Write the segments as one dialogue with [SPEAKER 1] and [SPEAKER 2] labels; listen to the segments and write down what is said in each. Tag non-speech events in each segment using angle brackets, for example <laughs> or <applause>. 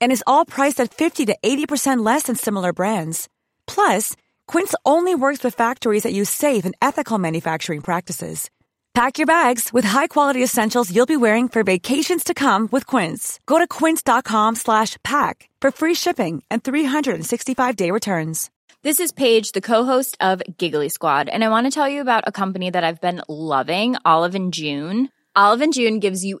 [SPEAKER 1] And is all priced at 50 to 80% less than similar brands. Plus, Quince only works with factories that use safe and ethical manufacturing practices. Pack your bags with high-quality essentials you'll be wearing for vacations to come with Quince. Go to quince.com/pack for free shipping and 365-day returns.
[SPEAKER 2] This is Paige, the co-host of Giggly Squad, and I want to tell you about a company that I've been loving, Olive and June. Olive and June gives you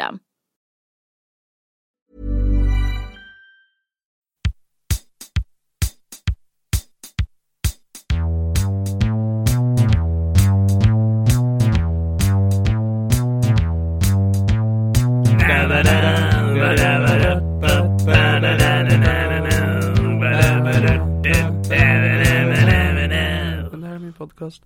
[SPEAKER 3] Det här är min podcast.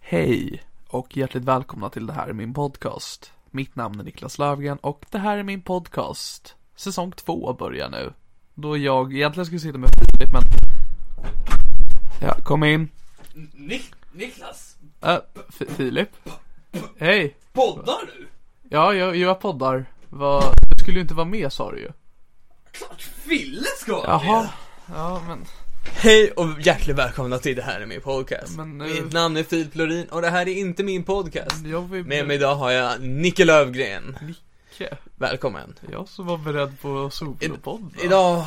[SPEAKER 3] Hej och hjärtligt välkomna till Det här är min podcast. Mitt namn är Niklas Löfgren och det här är min podcast. Säsong två börjar nu. Då jag egentligen skulle sitta med Filip men... Ja, kom in.
[SPEAKER 4] Nik- Niklas,
[SPEAKER 3] Äh, F- Filip. Hej.
[SPEAKER 4] poddar du?
[SPEAKER 3] Ja, jag, jag poddar. Vad- Du skulle ju inte vara med sa du ju.
[SPEAKER 4] Klart Fille ska vara
[SPEAKER 3] Jaha.
[SPEAKER 4] med.
[SPEAKER 3] Ja, men...
[SPEAKER 4] Hej och hjärtligt välkomna till det här är min podcast.
[SPEAKER 3] Men, eh,
[SPEAKER 4] Mitt namn är Filip Lorin och det här är inte min podcast.
[SPEAKER 3] Jag vill...
[SPEAKER 4] Med mig idag har jag Nicke Lövgren. Välkommen.
[SPEAKER 3] Jag som var beredd på solopodden.
[SPEAKER 4] Idag,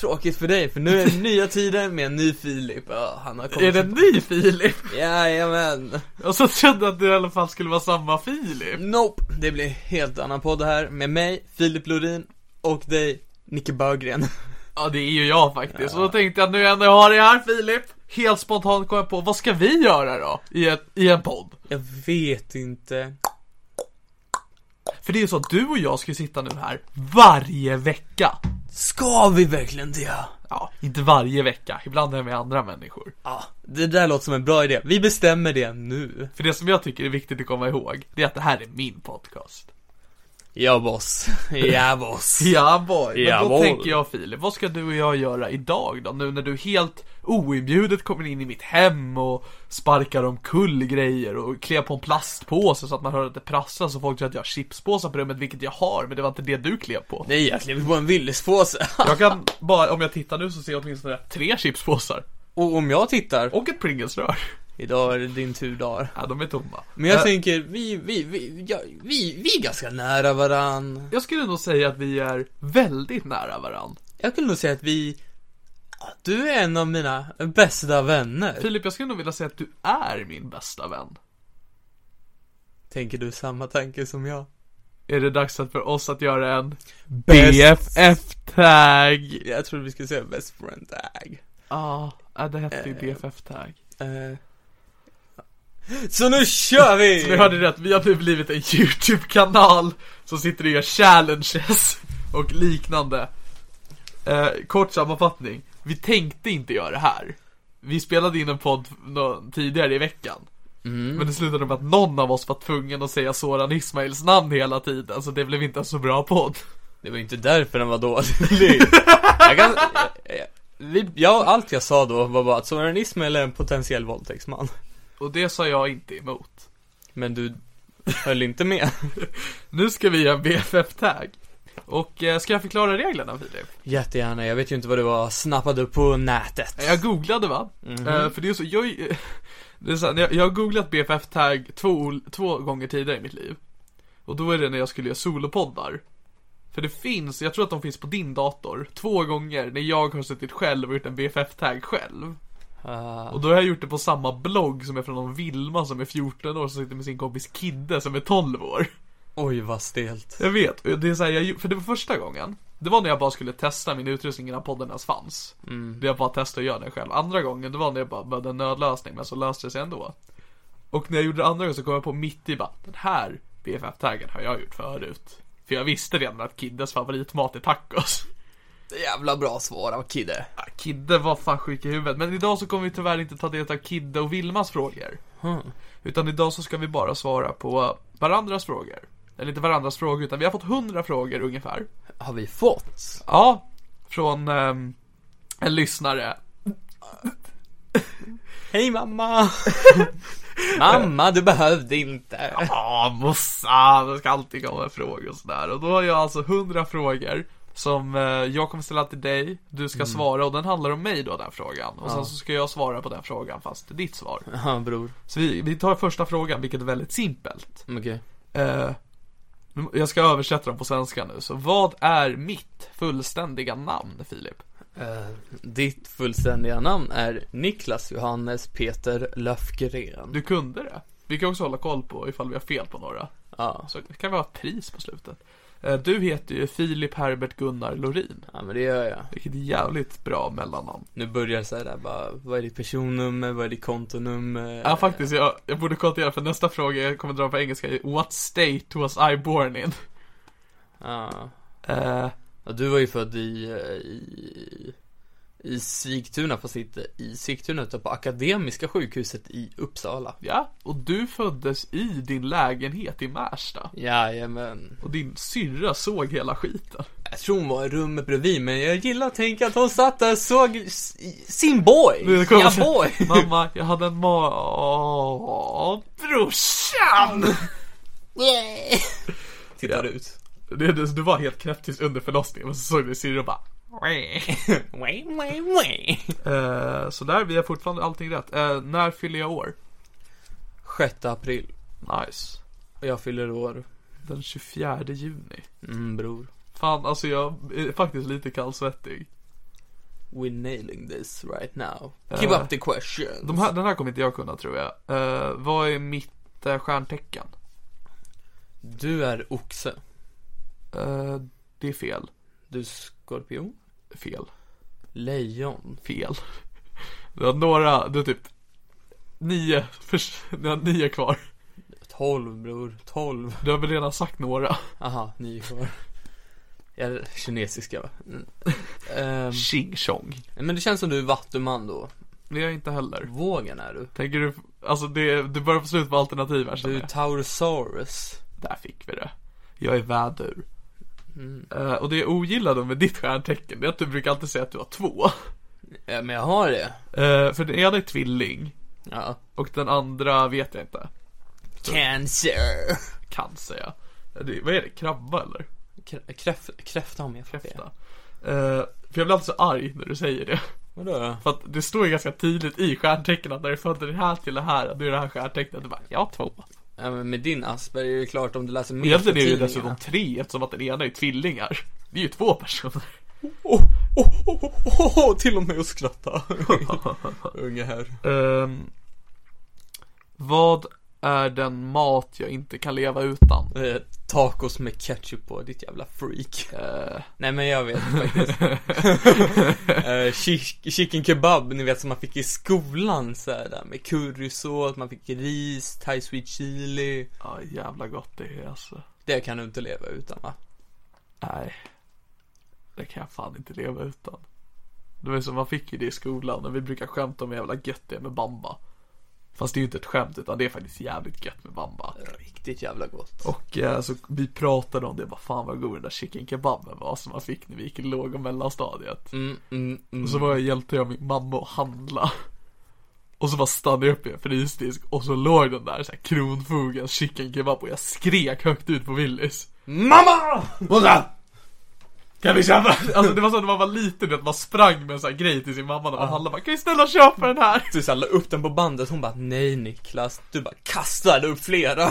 [SPEAKER 4] tråkigt för dig för nu är det nya tider med en ny Filip. Ja, han har kommit.
[SPEAKER 3] Är det ny Filip?
[SPEAKER 4] Jajamän.
[SPEAKER 3] Jag så trodde att det i alla fall skulle vara samma Filip.
[SPEAKER 4] Nope. Det blir helt annan podd här med mig, Filip Lorin och dig, Nicke Bögren.
[SPEAKER 3] Ja, det är ju jag faktiskt. Och då tänkte jag nu när jag har det här Filip. Helt spontant kom jag på, vad ska vi göra då? I, ett, i en podd?
[SPEAKER 4] Jag vet inte.
[SPEAKER 3] För det är ju så att du och jag ska ju sitta nu här varje vecka.
[SPEAKER 4] Ska vi verkligen det?
[SPEAKER 3] Ja, inte varje vecka. Ibland är jag med andra människor.
[SPEAKER 4] Ja, det där låter som en bra idé. Vi bestämmer det nu.
[SPEAKER 3] För det som jag tycker är viktigt att komma ihåg, det är att det här är min podcast.
[SPEAKER 4] Ja, boss. <laughs> Ja, boss.
[SPEAKER 3] Ja boy, men då
[SPEAKER 4] Jawohl.
[SPEAKER 3] tänker jag Filip, vad ska du och jag göra idag då? Nu när du helt oinbjudet kommer in i mitt hem och sparkar omkull grejer och klär på en plastpåse så att man hör att det prasslar så folk tror att jag har chipspåsar på rummet, vilket jag har, men det var inte det du klev på.
[SPEAKER 4] Nej, jag klev på en <laughs> Willys-påse.
[SPEAKER 3] Jag kan bara, om jag tittar nu så ser jag åtminstone tre chipspåsar.
[SPEAKER 4] Och om jag tittar.
[SPEAKER 3] Och ett Pringles-rör.
[SPEAKER 4] Idag är det din tur, Dar.
[SPEAKER 3] Ja, de är tomma.
[SPEAKER 4] Men jag
[SPEAKER 3] Eh,
[SPEAKER 4] tänker, vi, vi, vi, ja, vi, vi är ganska nära varann.
[SPEAKER 3] jag skulle nog säga att vi är väldigt nära varann.
[SPEAKER 4] Jag skulle nog säga att vi... ja, Du är en av mina bästa vänner.
[SPEAKER 3] Filip, jag skulle nog vilja säga att du är min bästa vän.
[SPEAKER 4] Tänker du samma tanke som jag?
[SPEAKER 3] Är det dags att för oss att göra en
[SPEAKER 4] Bäst-
[SPEAKER 3] BFF-tag!
[SPEAKER 4] Jag trodde vi skulle säga best friend tag.
[SPEAKER 3] Ja, ah, det hette ju BFF-tag.
[SPEAKER 4] Eh. Så nu kör vi!
[SPEAKER 3] Ni hörde rätt, vi har <laughs> nu blivit en YouTube-kanal som sitter och gör challenges <laughs> och liknande. Eh, kort sammanfattning, vi tänkte inte göra det här. Vi spelade in en podd nå- tidigare i veckan. Men det slutade med att någon av oss var tvungen att säga Soran Ismails namn hela tiden, så det blev inte en så bra podd.
[SPEAKER 4] Det var ju inte därför den var <laughs> dålig. jag kan, <laughs> eh, vi, ja, allt jag sa då var bara att Soran Ismail är en potentiell våldtäktsman.
[SPEAKER 3] Och det sa jag inte emot.
[SPEAKER 4] Men du höll inte med.
[SPEAKER 3] Nu ska vi göra en BFF-tag. Och eh, ska jag förklara reglerna Filip?
[SPEAKER 4] Jättegärna, jag vet ju inte vad du var snappade upp på nätet.
[SPEAKER 3] Jag googlade va? Eh, för det är så, jag, är- <laughs> Det är så här, jag, jag har googlat BFF-tag två, ol- två gånger tidigare i mitt liv. Och då är det när jag skulle göra solopoddar. För det finns, jag tror att de finns på din dator, två gånger när jag har suttit själv och gjort en BFF-tag själv.
[SPEAKER 4] Ah.
[SPEAKER 3] Och då har jag gjort det på samma blogg som är från någon Vilma som är 14 år som sitter med sin kompis Kidde som är 12 år.
[SPEAKER 4] Oj vad stelt.
[SPEAKER 3] Jag vet, och det är så här, jag, gjo- för det var första gången. Det var när jag bara skulle testa min utrustning innan podden ens fanns. Mm. Det jag bara testade att göra den själv. Andra gången, det var när jag bara behövde en nödlösning, men så löste det sig ändå. Och när jag gjorde det andra gången så kom jag på mitt i bara, den här BFF-taggen har jag gjort förut. För jag visste redan att Kiddes favoritmat är tacos.
[SPEAKER 4] Jävla bra svar av Kidde.
[SPEAKER 3] Ah, Kidde var fan sjuk i huvudet, men idag så kommer vi tyvärr inte ta del av Kidde och Vilmas frågor. Utan idag så ska vi bara svara på varandras frågor. Eller inte varandras frågor, utan vi har fått 100 frågor ungefär.
[SPEAKER 4] Har vi fått?
[SPEAKER 3] Ja, från ehm, en lyssnare.
[SPEAKER 4] Hej <laughs> mamma! mamma, du behövde inte.
[SPEAKER 3] Ja, morsan, det ska alltid komma frågor och sådär. Och då har jag alltså 100 frågor som eh, jag kommer ställa till dig, du ska svara och den handlar om mig då den här frågan. Och sen så ska jag svara på den frågan fast ditt svar.
[SPEAKER 4] Ja bror.
[SPEAKER 3] Så vi, vi tar första frågan, vilket är väldigt simpelt.
[SPEAKER 4] Mm, Okej.
[SPEAKER 3] Eh, jag ska översätta den på svenska nu, så vad är mitt fullständiga namn, Filip?
[SPEAKER 4] Eh, ditt fullständiga namn är Niklas Johannes Peter Löfgren.
[SPEAKER 3] Du kunde det. Vi kan också hålla koll på ifall vi har fel på några.
[SPEAKER 4] Ja.
[SPEAKER 3] Så kan vi ha ett pris på slutet. Eh, Du heter ju Filip Herbert Gunnar Lorin.
[SPEAKER 4] ja, men det gör jag.
[SPEAKER 3] Vilket är jävligt bra mellannamn.
[SPEAKER 4] Nu börjar så här där bara, vad är ditt personnummer, vad är ditt kontonummer?
[SPEAKER 3] Ja faktiskt, jag, jag borde kontrollera för nästa fråga jag kommer dra på engelska är What state was I born in?
[SPEAKER 4] Ja.
[SPEAKER 3] Eh,
[SPEAKER 4] Ja, du var ju född i, eh, i, i Sigtuna, fast inte i Sigtuna utan på Akademiska sjukhuset i Uppsala.
[SPEAKER 3] ja, och du föddes i din lägenhet i Märsta.
[SPEAKER 4] Jajamän.
[SPEAKER 3] Och din syrra såg hela skiten.
[SPEAKER 4] Jag tror hon var i rummet bredvid men jag gillar att tänka att hon satt där och såg s- sin boy!
[SPEAKER 3] Nu kommer
[SPEAKER 4] Ja
[SPEAKER 3] jag-
[SPEAKER 4] boy!
[SPEAKER 3] <laughs> Mamma, jag hade en ma... Åh,
[SPEAKER 4] <laughs>
[SPEAKER 3] brorsan!
[SPEAKER 4] Tittar ut.
[SPEAKER 3] Det, det, du var helt knäpptyst under förlossningen, men så såg du din syrra och bara...
[SPEAKER 4] <laughs> Wait, wait, wait.
[SPEAKER 3] Eh, så där, vi har fortfarande allting rätt. Eh, när fyller jag år?
[SPEAKER 4] 6 april.
[SPEAKER 3] Nice.
[SPEAKER 4] Och jag fyller år.
[SPEAKER 3] Den 24 juni.
[SPEAKER 4] Mm bror.
[SPEAKER 3] Fan, alltså jag är faktiskt lite kallsvettig.
[SPEAKER 4] We're nailing this right now.
[SPEAKER 3] Ja.
[SPEAKER 4] Give up the questions.
[SPEAKER 3] Eh. De här, den här kommer inte jag kunna tror jag. Eh, vad är mitt eh, stjärntecken?
[SPEAKER 4] Du är oxe.
[SPEAKER 3] Eh, det är fel.
[SPEAKER 4] Du är skorpion.
[SPEAKER 3] Fel.
[SPEAKER 4] Lejon.
[SPEAKER 3] Fel. Du har några, du har typ nio, förs- du har nio kvar.
[SPEAKER 4] Tolv bror. Tolv.
[SPEAKER 3] Du har väl redan sagt några.
[SPEAKER 4] Aha, nio kvar. Jag är kinesiska va? Mm. Ehm,
[SPEAKER 3] Ching chong.
[SPEAKER 4] men det känns som du är vattuman då.
[SPEAKER 3] Det är jag inte heller.
[SPEAKER 4] Vågen är du.
[SPEAKER 3] Tänker du, alltså det, du börjar få slut på alternativ här känner
[SPEAKER 4] Du är
[SPEAKER 3] jag.
[SPEAKER 4] Taurosaurus.
[SPEAKER 3] Där fick vi det. Jag är vädur. Eh, och det jag ogillar då med ditt stjärntecken, det är att du brukar alltid säga att du har två.
[SPEAKER 4] Ja, men jag har det.
[SPEAKER 3] Eh, för den ena är tvilling
[SPEAKER 4] Ja.
[SPEAKER 3] och den andra vet jag inte.
[SPEAKER 4] Cancer.
[SPEAKER 3] Cancer ja. Det, vad är det, krabba eller?
[SPEAKER 4] Krä- Kräf, kräfta om jag får
[SPEAKER 3] Kräfta.
[SPEAKER 4] be.
[SPEAKER 3] Eh, för jag blir alltid så arg när du säger det.
[SPEAKER 4] Vadå?
[SPEAKER 3] För att det står ju ganska tydligt i stjärntecknen att när du födde det här till det här, då är det här stjärntecknet. Du bara, jag har två.
[SPEAKER 4] Ja, men med din Asperger är det klart om du läser mer
[SPEAKER 3] Egentligen
[SPEAKER 4] för
[SPEAKER 3] är det ju
[SPEAKER 4] tidningarna.
[SPEAKER 3] dessutom tre eftersom att den ena är tvillingar. Det är ju två personer.
[SPEAKER 4] Åh, åh, åh, åh, åh, åh, till och med att skratta. Unge här.
[SPEAKER 3] Ehm, vad är den mat jag inte kan leva utan?
[SPEAKER 4] Eh, tacos med ketchup på, ditt jävla freak.
[SPEAKER 3] Eh,
[SPEAKER 4] Nej men jag
[SPEAKER 3] <laughs>
[SPEAKER 4] vet faktiskt. Eh, chi- chicken kebab, ni vet som man fick i skolan så här där med currysås, man fick ris, thai sweet chili.
[SPEAKER 3] Ja, jävla gott det är alltså.
[SPEAKER 4] Det kan du inte leva utan va?
[SPEAKER 3] Nej. Det kan jag fan inte leva utan. Det var som man fick ju det i skolan och vi brukar skämta om hur jävla gött det är med bamba. Fast det är ju inte ett skämt utan det är faktiskt jävligt gött med bamba.
[SPEAKER 4] Riktigt jävla gott.
[SPEAKER 3] Och eh, så vi pratade om det, bara fan vad god den där chicken kebaben var som man fick när vi gick i låg och mellanstadiet.
[SPEAKER 4] Mm, mm, mm.
[SPEAKER 3] Och så var jag, hjälpte jag min mamma att handla. Och så bara stannade jag upp i en frysdisk och så låg den där så här, kronfogens chicken kebab och jag skrek högt ut på Willys.
[SPEAKER 4] Mamma!
[SPEAKER 3] Kan vi köpa? Alltså det var så när man var liten, du vet, man sprang med en sån här grej till sin mamma när man handlade. Bara, kan vi snälla köpa den här? <laughs>
[SPEAKER 4] Du såhär la upp den på bandet, hon bara nej Niklas, du bara kastade upp flera.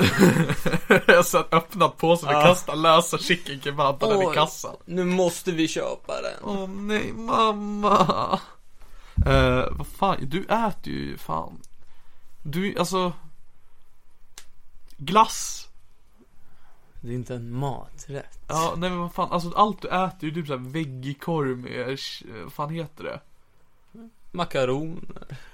[SPEAKER 3] så att öppna påsen och kasta lösa chicken kebab på den i
[SPEAKER 4] Oj,
[SPEAKER 3] kassan.
[SPEAKER 4] Nu måste vi köpa den.
[SPEAKER 3] Åh nej mamma. Eh, vad fan, du äter ju fan. Du, alltså. Glass.
[SPEAKER 4] Det är inte en maträtt.
[SPEAKER 3] Ja, nej men vad fan, alltså allt du äter är ju typ såhär veggiekorv med, eh, vad fan heter det?
[SPEAKER 4] Makaroner,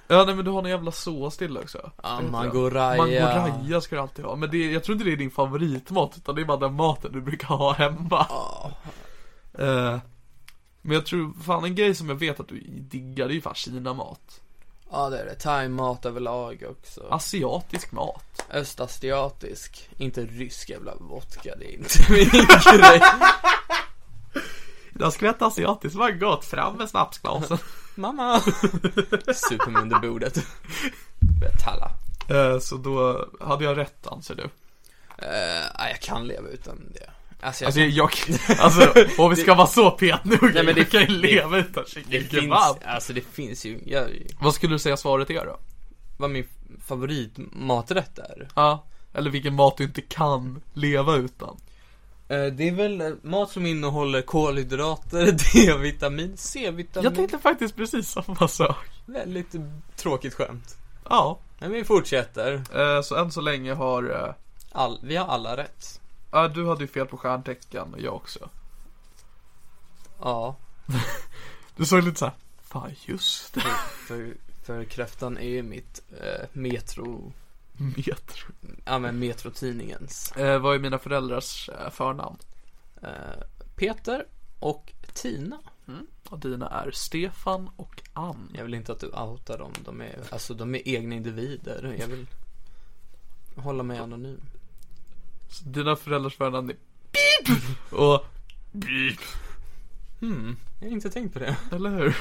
[SPEAKER 3] Ja nej men du har någon jävla sås till också.
[SPEAKER 4] ja,
[SPEAKER 3] Vet du det?
[SPEAKER 4] mangoraja.
[SPEAKER 3] Mangoraja ska du alltid ha, men det, jag tror inte det är din favoritmat utan det är bara den maten du brukar ha hemma.
[SPEAKER 4] Ja.
[SPEAKER 3] Eh, men jag tror, fan en grej som jag vet att du diggar det är ju fan kinamat.
[SPEAKER 4] Ja det är det, thaimat överlag också.
[SPEAKER 3] Alltså- Asiatisk mat.
[SPEAKER 4] Östasiatisk, inte rysk jävla vodka, det är inte <laughs> min grej.
[SPEAKER 3] Där skvätt asiatiskt var gott, fram med snapsglasen.
[SPEAKER 4] Mamma! Super mig under bordet. Börjar talla.
[SPEAKER 3] <laughs> Eh, så då hade jag rätt anser du?
[SPEAKER 4] Eh, nej, jag kan leva utan det. Alltså, jag
[SPEAKER 3] Alltså
[SPEAKER 4] kan-
[SPEAKER 3] jag, <laughs> alltså om vi ska vara så petnoga,
[SPEAKER 4] Nej, men
[SPEAKER 3] vi
[SPEAKER 4] det-
[SPEAKER 3] kan ju leva utan chicken
[SPEAKER 4] det finns,
[SPEAKER 3] kebab.
[SPEAKER 4] alltså det finns ju, jag,
[SPEAKER 3] Vad skulle du säga svaret är då?
[SPEAKER 4] vad min favoritmaträtt är.
[SPEAKER 3] Ja, eller vilken mat du inte kan leva utan.
[SPEAKER 4] Eh, det är väl eh, mat som innehåller kolhydrater, <laughs> D-vitamin, C-vitamin.
[SPEAKER 3] Jag tänkte faktiskt precis samma sak.
[SPEAKER 4] Väldigt tråkigt skämt.
[SPEAKER 3] Ja,
[SPEAKER 4] Men vi fortsätter.
[SPEAKER 3] eh, så än så länge har, eh,
[SPEAKER 4] All, vi har alla rätt.
[SPEAKER 3] ja, du hade ju fel på stjärntecken och jag också.
[SPEAKER 4] Ja,
[SPEAKER 3] Du såg lite såhär, fan just det.
[SPEAKER 4] för, för kräftan är ju mitt eh, metro,
[SPEAKER 3] Metro.
[SPEAKER 4] ja men metrotidningens.
[SPEAKER 3] Mm, Eh, vad är mina föräldrars eh, förnamn?
[SPEAKER 4] Eh, Peter och Tina.
[SPEAKER 3] Och dina är Stefan och Ann.
[SPEAKER 4] Jag vill inte att du outar dem. De är, alltså, de är egna individer. Jag vill hålla mig anonym.
[SPEAKER 3] Så dina föräldrars förnamn är Beep! Och Beep.
[SPEAKER 4] Hmm, jag har inte tänkt på det.
[SPEAKER 3] Eller hur?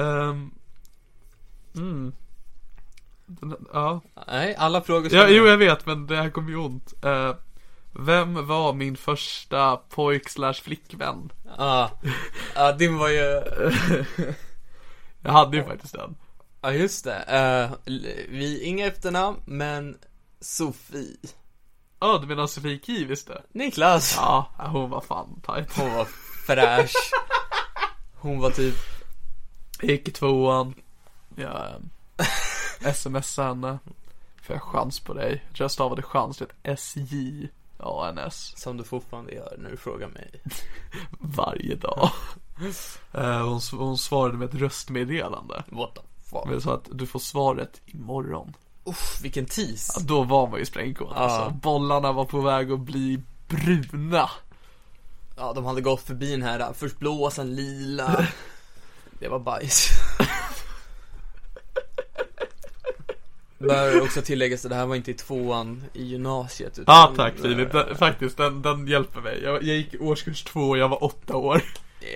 [SPEAKER 3] Ehm, mm. Den, ja.
[SPEAKER 4] Nej, alla frågor
[SPEAKER 3] ja, jo jag vet men det här kommer ju ont. Eh, vem var min första pojk slash flickvän?
[SPEAKER 4] Ja, ja, Ah. din var ju... <laughs>
[SPEAKER 3] Jag hade ju faktiskt den.
[SPEAKER 4] Ja, just det. Eh, l- vi, inga efternamn, men Sofie.
[SPEAKER 3] Ja, du menar Sofie Kiv visst det?
[SPEAKER 4] Niklas.
[SPEAKER 3] Ja, hon var fan tajt.
[SPEAKER 4] Hon var fräsch. Hon var typ,
[SPEAKER 3] Jag gick i tvåan. Jag eh, smsade henne. Får jag chans på dig? Jag tror jag stavade chans till ett S-J-A-N-S.
[SPEAKER 4] som du fortfarande gör när du frågar mig.
[SPEAKER 3] varje dag. <laughs> Eh, hon, s- hon svarade med ett röstmeddelande.
[SPEAKER 4] What the fuck?
[SPEAKER 3] Men så att du får svaret imorgon.
[SPEAKER 4] Uff, vilken tis.
[SPEAKER 3] Ja, Då var man ju sprängkåt alltså. Bollarna var på väg att bli bruna.
[SPEAKER 4] Ja, de hade gått förbi den här, först blå, sen lila. Det var bajs. Bör också tilläggas att det här var inte i tvåan i gymnasiet. utan-
[SPEAKER 3] Ja Ah, tack Filip, Den- faktiskt den, den hjälper mig. Jag, jag gick i årskurs två och jag var åtta år.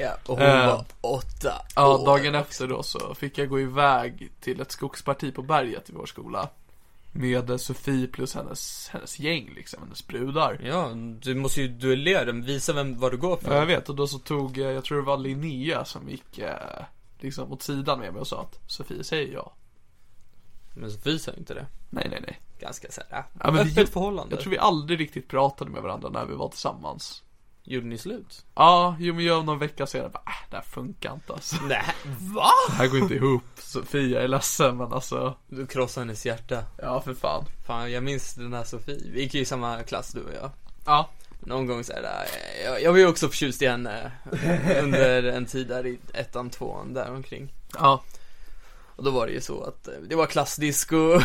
[SPEAKER 4] Ja, och hon
[SPEAKER 3] Eh.
[SPEAKER 4] var åtta
[SPEAKER 3] Ja,
[SPEAKER 4] år.
[SPEAKER 3] dagen efter då så fick jag gå iväg till ett skogsparti på berget i vår skola. Med eh, Sofie plus hennes, hennes gäng liksom, hennes brudar.
[SPEAKER 4] Ja, du måste ju duellera den, visa vem, vad du går för.
[SPEAKER 3] Ja jag vet och då så tog, eh, jag tror det var Linnea som gick eh, liksom åt sidan med mig och sa att Sofie säger ja.
[SPEAKER 4] Men Sofie sa ju inte det.
[SPEAKER 3] Nej nej nej.
[SPEAKER 4] Ganska såhär,
[SPEAKER 3] Ja, men vi
[SPEAKER 4] öppet
[SPEAKER 3] gjorde-
[SPEAKER 4] förhållande.
[SPEAKER 3] Jag tror vi aldrig riktigt pratade med varandra när vi var tillsammans.
[SPEAKER 4] Gjorde ni slut?
[SPEAKER 3] Ja, jo men jag någon vecka senare bara, äh, det här funkar inte alltså.
[SPEAKER 4] Nej, va?
[SPEAKER 3] Det här går inte ihop. <laughs> Sofia jag är ledsen men alltså.
[SPEAKER 4] Du krossade hennes hjärta.
[SPEAKER 3] Ja för fan.
[SPEAKER 4] Fan, jag minns den här Sofie. Vi gick ju i samma klass du och jag.
[SPEAKER 3] Ja.
[SPEAKER 4] Någon gång så här, eh, jag, jag var ju också förtjust
[SPEAKER 3] <laughs>
[SPEAKER 4] i henne under en tid där i ettan, tvåan, där omkring.
[SPEAKER 3] Ja.
[SPEAKER 4] Och då var det ju så att eh, det
[SPEAKER 3] <laughs>
[SPEAKER 4] var klassdisco.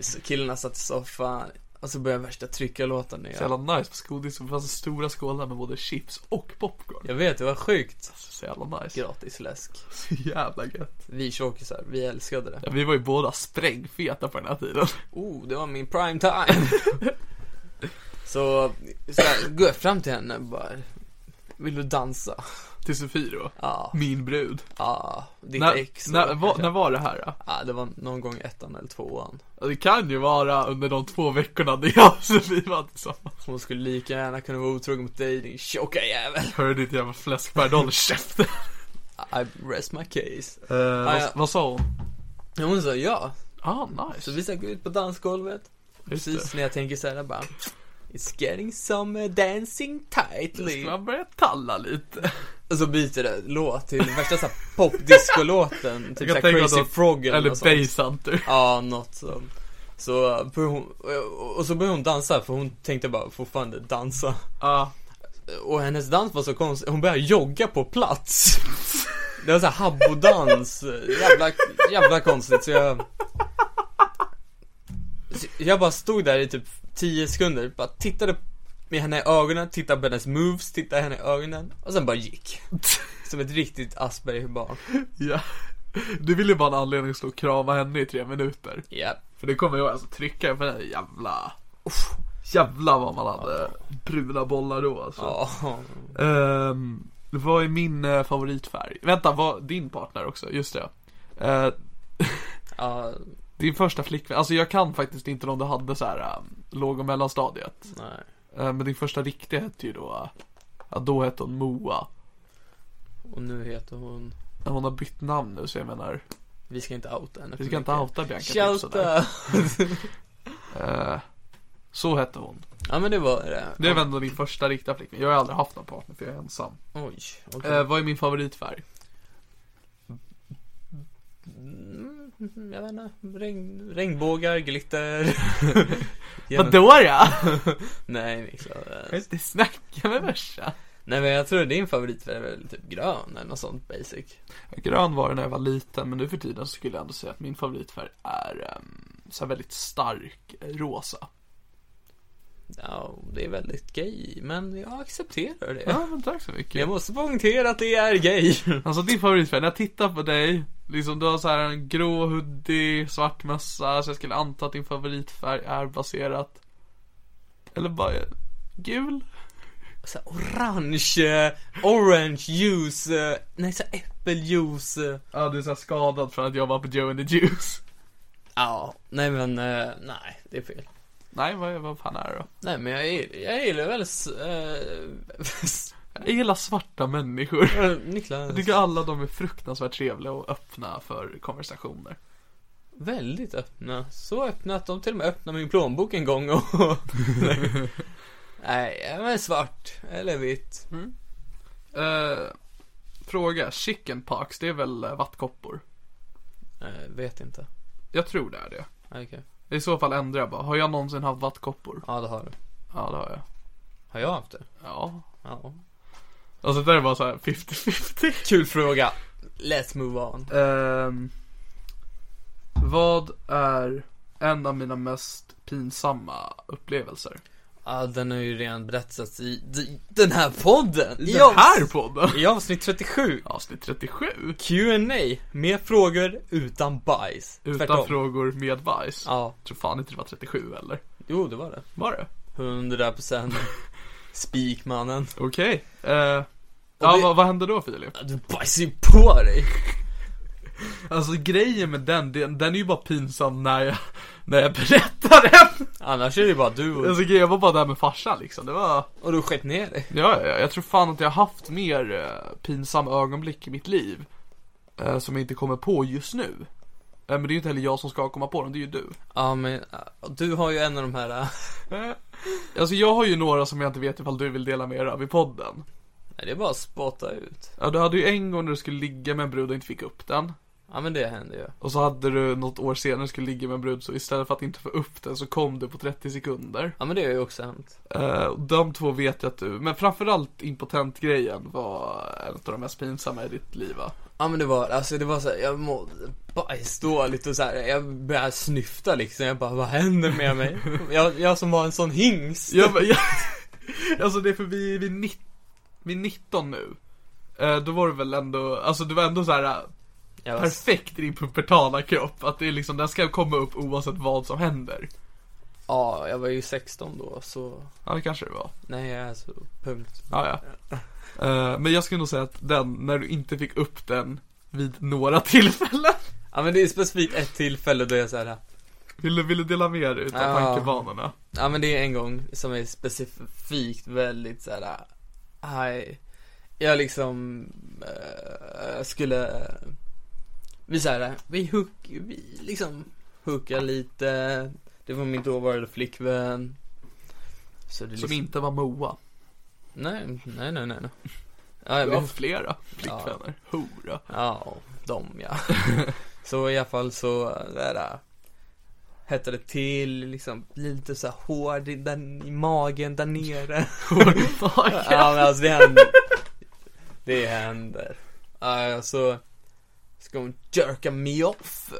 [SPEAKER 4] så killarna satt i soffan och så började värsta tryckarlåten. när
[SPEAKER 3] Så
[SPEAKER 4] Jag,
[SPEAKER 3] jävla nice på skodis. Det fanns stora skålar med både chips och popcorn.
[SPEAKER 4] jag vet, det var sjukt.
[SPEAKER 3] Så jävla nice.
[SPEAKER 4] Gratis läsk.
[SPEAKER 3] <laughs> Så jävla gött.
[SPEAKER 4] Vi tjockisar, vi älskade det.
[SPEAKER 3] Ja, vi var ju båda sprängfeta på den här tiden. <laughs>
[SPEAKER 4] Oh, det var min prime <laughs> time. så, så här, går jag fram till henne och bara, vill du dansa?
[SPEAKER 3] till Sefiro.
[SPEAKER 4] Ja,
[SPEAKER 3] Min brud.
[SPEAKER 4] ja, ditt
[SPEAKER 3] När,
[SPEAKER 4] ex då,
[SPEAKER 3] när, var,
[SPEAKER 4] kanske.
[SPEAKER 3] när var det här då?
[SPEAKER 4] Ja, det var någon gång ettan eller tvåan
[SPEAKER 3] Ja, Det kan ju vara under de två veckorna där jag och Sofie var tillsammans.
[SPEAKER 4] Hon skulle lika gärna kunna vara otrogen mot dig din tjocka jävel
[SPEAKER 3] Hör ditt jävla fläskberg, du håller käften.
[SPEAKER 4] I rest my case
[SPEAKER 3] <laughs> Eh, vad,
[SPEAKER 4] ja.
[SPEAKER 3] vad sa hon?
[SPEAKER 4] Ja, Hon sa ja,
[SPEAKER 3] Ah,
[SPEAKER 4] så
[SPEAKER 3] nice.
[SPEAKER 4] vi ska gå ut på dansgolvet
[SPEAKER 3] Just det.
[SPEAKER 4] Precis när jag tänker såhär bara It's getting some eh, dancing tightly
[SPEAKER 3] Ska man börja talla lite?
[SPEAKER 4] Och så byter det låt till värsta såhär popdiscolåten Typ
[SPEAKER 3] Jag
[SPEAKER 4] såhär
[SPEAKER 3] tänker att
[SPEAKER 4] Crazy
[SPEAKER 3] de-
[SPEAKER 4] Frog eller
[SPEAKER 3] Eller
[SPEAKER 4] något sånt.
[SPEAKER 3] Base Hunter.
[SPEAKER 4] Ja, något sånt. Så började hon, och så började hon dansa för hon tänkte bara fortfarande dansa.
[SPEAKER 3] Ja.
[SPEAKER 4] Och hennes dans var så konstig, hon började jogga på plats. Det var såhär habbodans, jävla, jävla konstigt så jag... Så Jag bara stod där i typ 10 sekunder, bara tittade med henne i ögonen, tittade på hennes moves, tittade henne i ögonen och sen bara gick. Som ett riktigt Asperger-barn.
[SPEAKER 3] ja. Du ville ju bara ha en anledning att stå och krama henne i tre minuter.
[SPEAKER 4] Japp.
[SPEAKER 3] För det kommer jag alltså trycka på den här jävla... Jävlar vad man hade bruna bollar då alltså.
[SPEAKER 4] Ja.
[SPEAKER 3] Ehm, vad är min eh, favoritfärg? Vänta, vad, din partner också, just det. Eh,
[SPEAKER 4] Ja,
[SPEAKER 3] din första flickvän, alltså jag kan faktiskt inte om du hade så här eh, låg och mellanstadiet.
[SPEAKER 4] nej.
[SPEAKER 3] Eh, men din första riktiga hette ju då, eh, ja då hette hon Moa.
[SPEAKER 4] Och nu heter hon...
[SPEAKER 3] Eh, Hon har bytt namn nu så jag menar,
[SPEAKER 4] Vi ska inte outa henne
[SPEAKER 3] vi
[SPEAKER 4] för
[SPEAKER 3] ska inte
[SPEAKER 4] mycket.
[SPEAKER 3] outa Bianca sådär.
[SPEAKER 4] Shouta!
[SPEAKER 3] Eh, så hette hon.
[SPEAKER 4] Ja men det var det.
[SPEAKER 3] Det är väl ändå din första riktiga flickvän, jag har aldrig haft någon partner för jag är ensam.
[SPEAKER 4] Oj, okej.
[SPEAKER 3] Eh, vad är min favoritfärg?
[SPEAKER 4] Mm, Jag vet inte, regn,
[SPEAKER 3] <laughs>
[SPEAKER 4] regnbågar, glitter. Genom-
[SPEAKER 3] Vadå ja?
[SPEAKER 4] <laughs> Nej Niklas. eh,
[SPEAKER 3] Jag inte snacka med värsta.
[SPEAKER 4] Nej men jag tror din favoritfärg är väl typ grön eller något sånt basic.
[SPEAKER 3] Grön var det när jag var liten men nu för tiden så skulle jag ändå säga att min favoritfärg är um, så här väldigt stark eh, rosa.
[SPEAKER 4] Ja, det är väldigt gay, men jag accepterar det.
[SPEAKER 3] Ja men tack så
[SPEAKER 4] Jag
[SPEAKER 3] mycket.
[SPEAKER 4] måste poängtera att det är gay. <laughs>
[SPEAKER 3] Alltså din favoritfärg, när jag tittar på dig, liksom du har så här en grå hoodie, svart mössa, så jag skulle anta att din favoritfärg är baserat, eller bara eh, gul?
[SPEAKER 4] Så här, orange, eh, orange juice, eh, nej så här, äppeljuice. eh.
[SPEAKER 3] Ja du är så här skadad från att jag var på Joe and the Juice. <laughs>
[SPEAKER 4] Ja, nej men eh, nej, det är fel.
[SPEAKER 3] Nej vad, vad fan är det då?
[SPEAKER 4] Nej men jag gillar, jag gillar väl s- eh, <laughs>
[SPEAKER 3] Jag gillar svarta människor.
[SPEAKER 4] Niklas
[SPEAKER 3] Jag tycker alla de är fruktansvärt trevliga och öppna för konversationer.
[SPEAKER 4] väldigt öppna. Så öppna att de till och med öppnade min plånbok en gång och...
[SPEAKER 3] <laughs>
[SPEAKER 4] nej, ja, men svart eller vitt.
[SPEAKER 3] Mm. Eh, fråga, chickenpox, det är väl eh, vattkoppor?
[SPEAKER 4] Eh, vet inte.
[SPEAKER 3] Jag tror det är det.
[SPEAKER 4] Okej.
[SPEAKER 3] I så fall ändrar jag bara. Har jag någonsin haft vattkoppor?
[SPEAKER 4] Ja, det har du.
[SPEAKER 3] Ja, det har jag.
[SPEAKER 4] Har jag haft det?
[SPEAKER 3] Ja.
[SPEAKER 4] Ja.
[SPEAKER 3] Alltså det där är bara så här 50-50.
[SPEAKER 4] Kul fråga. Let's move on.
[SPEAKER 3] Ehm, vad är en av mina mest pinsamma upplevelser?
[SPEAKER 4] Ja, den har ju redan berättats i d- den här podden.
[SPEAKER 3] I
[SPEAKER 4] I
[SPEAKER 3] den
[SPEAKER 4] avs-
[SPEAKER 3] här podden?
[SPEAKER 4] I avsnitt 37.
[SPEAKER 3] Avsnitt 37.
[SPEAKER 4] Q&A med frågor utan bajs.
[SPEAKER 3] Utan
[SPEAKER 4] Tvärtom.
[SPEAKER 3] frågor med bajs.
[SPEAKER 4] Ja,
[SPEAKER 3] Jag tror fan inte det var 37 eller?
[SPEAKER 4] jo det var det.
[SPEAKER 3] Var det? <laughs>
[SPEAKER 4] 100 procent. Spikmannen.
[SPEAKER 3] Okej. Eh, ja,
[SPEAKER 4] det-
[SPEAKER 3] vad, vad hände då Filip?
[SPEAKER 4] Du bajsar ju på dig.
[SPEAKER 3] Alltså grejen med den, den, den är ju bara pinsam när jag, när jag berättar den.
[SPEAKER 4] Annars är det bara du och,
[SPEAKER 3] Alltså grejen, jag var bara där med farsan liksom. Det var,
[SPEAKER 4] och du har skett ner dig.
[SPEAKER 3] ja, ja, ja. jag tror fan att jag har haft mer eh, pinsamma ögonblick i mitt liv. Eh, som jag inte kommer på just nu. Eh, men det är ju inte heller jag som ska komma på dem, det är ju du.
[SPEAKER 4] Ja men, äh, du har ju en av de här, äh,
[SPEAKER 3] Eh, alltså jag har ju några som jag inte vet ifall du vill dela med dig av i podden.
[SPEAKER 4] nej det är bara att spotta ut.
[SPEAKER 3] Ja, du hade ju en gång när du skulle ligga med en brud och inte fick upp den.
[SPEAKER 4] Ja men det händer ju.
[SPEAKER 3] Och så hade du något år senare skulle ligga med en brud så istället för att inte få upp den så kom du på 30 sekunder.
[SPEAKER 4] Ja men det har ju också hänt.
[SPEAKER 3] Eh, och de två vet jag att du, men framförallt impotentgrejen var en av de mest pinsamma i ditt liv va?
[SPEAKER 4] Ja men det var, alltså det var så här, jag mådde bajsdåligt och så här, jag började snyfta liksom. Jag bara, vad händer med mig? Jag, jag som var en sån hingst.
[SPEAKER 3] Jag, bara- jag, <laughs> alltså det är för vi, vi, är nitt, vi är 19 nu. Eh, då var du väl ändå, alltså du var ändå så här eh,
[SPEAKER 4] Jag var,
[SPEAKER 3] perfekt i din pubertala kropp. Att det är liksom, den ska komma upp oavsett vad som händer.
[SPEAKER 4] Ja, jag var ju 16 då så,
[SPEAKER 3] Ja, det kanske det var.
[SPEAKER 4] nej alltså, punkt.
[SPEAKER 3] Ja, ja. Eh, men jag skulle nog säga att den, när du inte fick upp den vid några tillfällen. <laughs>
[SPEAKER 4] Ja men det är specifikt ett tillfälle då jag såhär,
[SPEAKER 3] Vill du, vill du dela med dig utav
[SPEAKER 4] Ja.
[SPEAKER 3] tankebanorna?
[SPEAKER 4] ja men det är en gång som är specifikt väldigt såhär, aj, jag liksom eh, skulle, vi såhär, vi hook, vi liksom hookar lite, det var min dåvarande flickvän. Så det liksom-
[SPEAKER 3] Som inte var Moa.
[SPEAKER 4] Nej, nej, nej, nej. nej. Ja, jag
[SPEAKER 3] Du har
[SPEAKER 4] vet,
[SPEAKER 3] flera flickvänner. Hora.
[SPEAKER 4] ja, de
[SPEAKER 3] <laughs>
[SPEAKER 4] ja. så i alla fall så, där, äh, hettade till, liksom, blir lite så här hård i, den, i magen där nere.
[SPEAKER 3] Hår i magen.
[SPEAKER 4] ja, men alltså det händer. Det händer. Ja, så ska hon jerka mig off.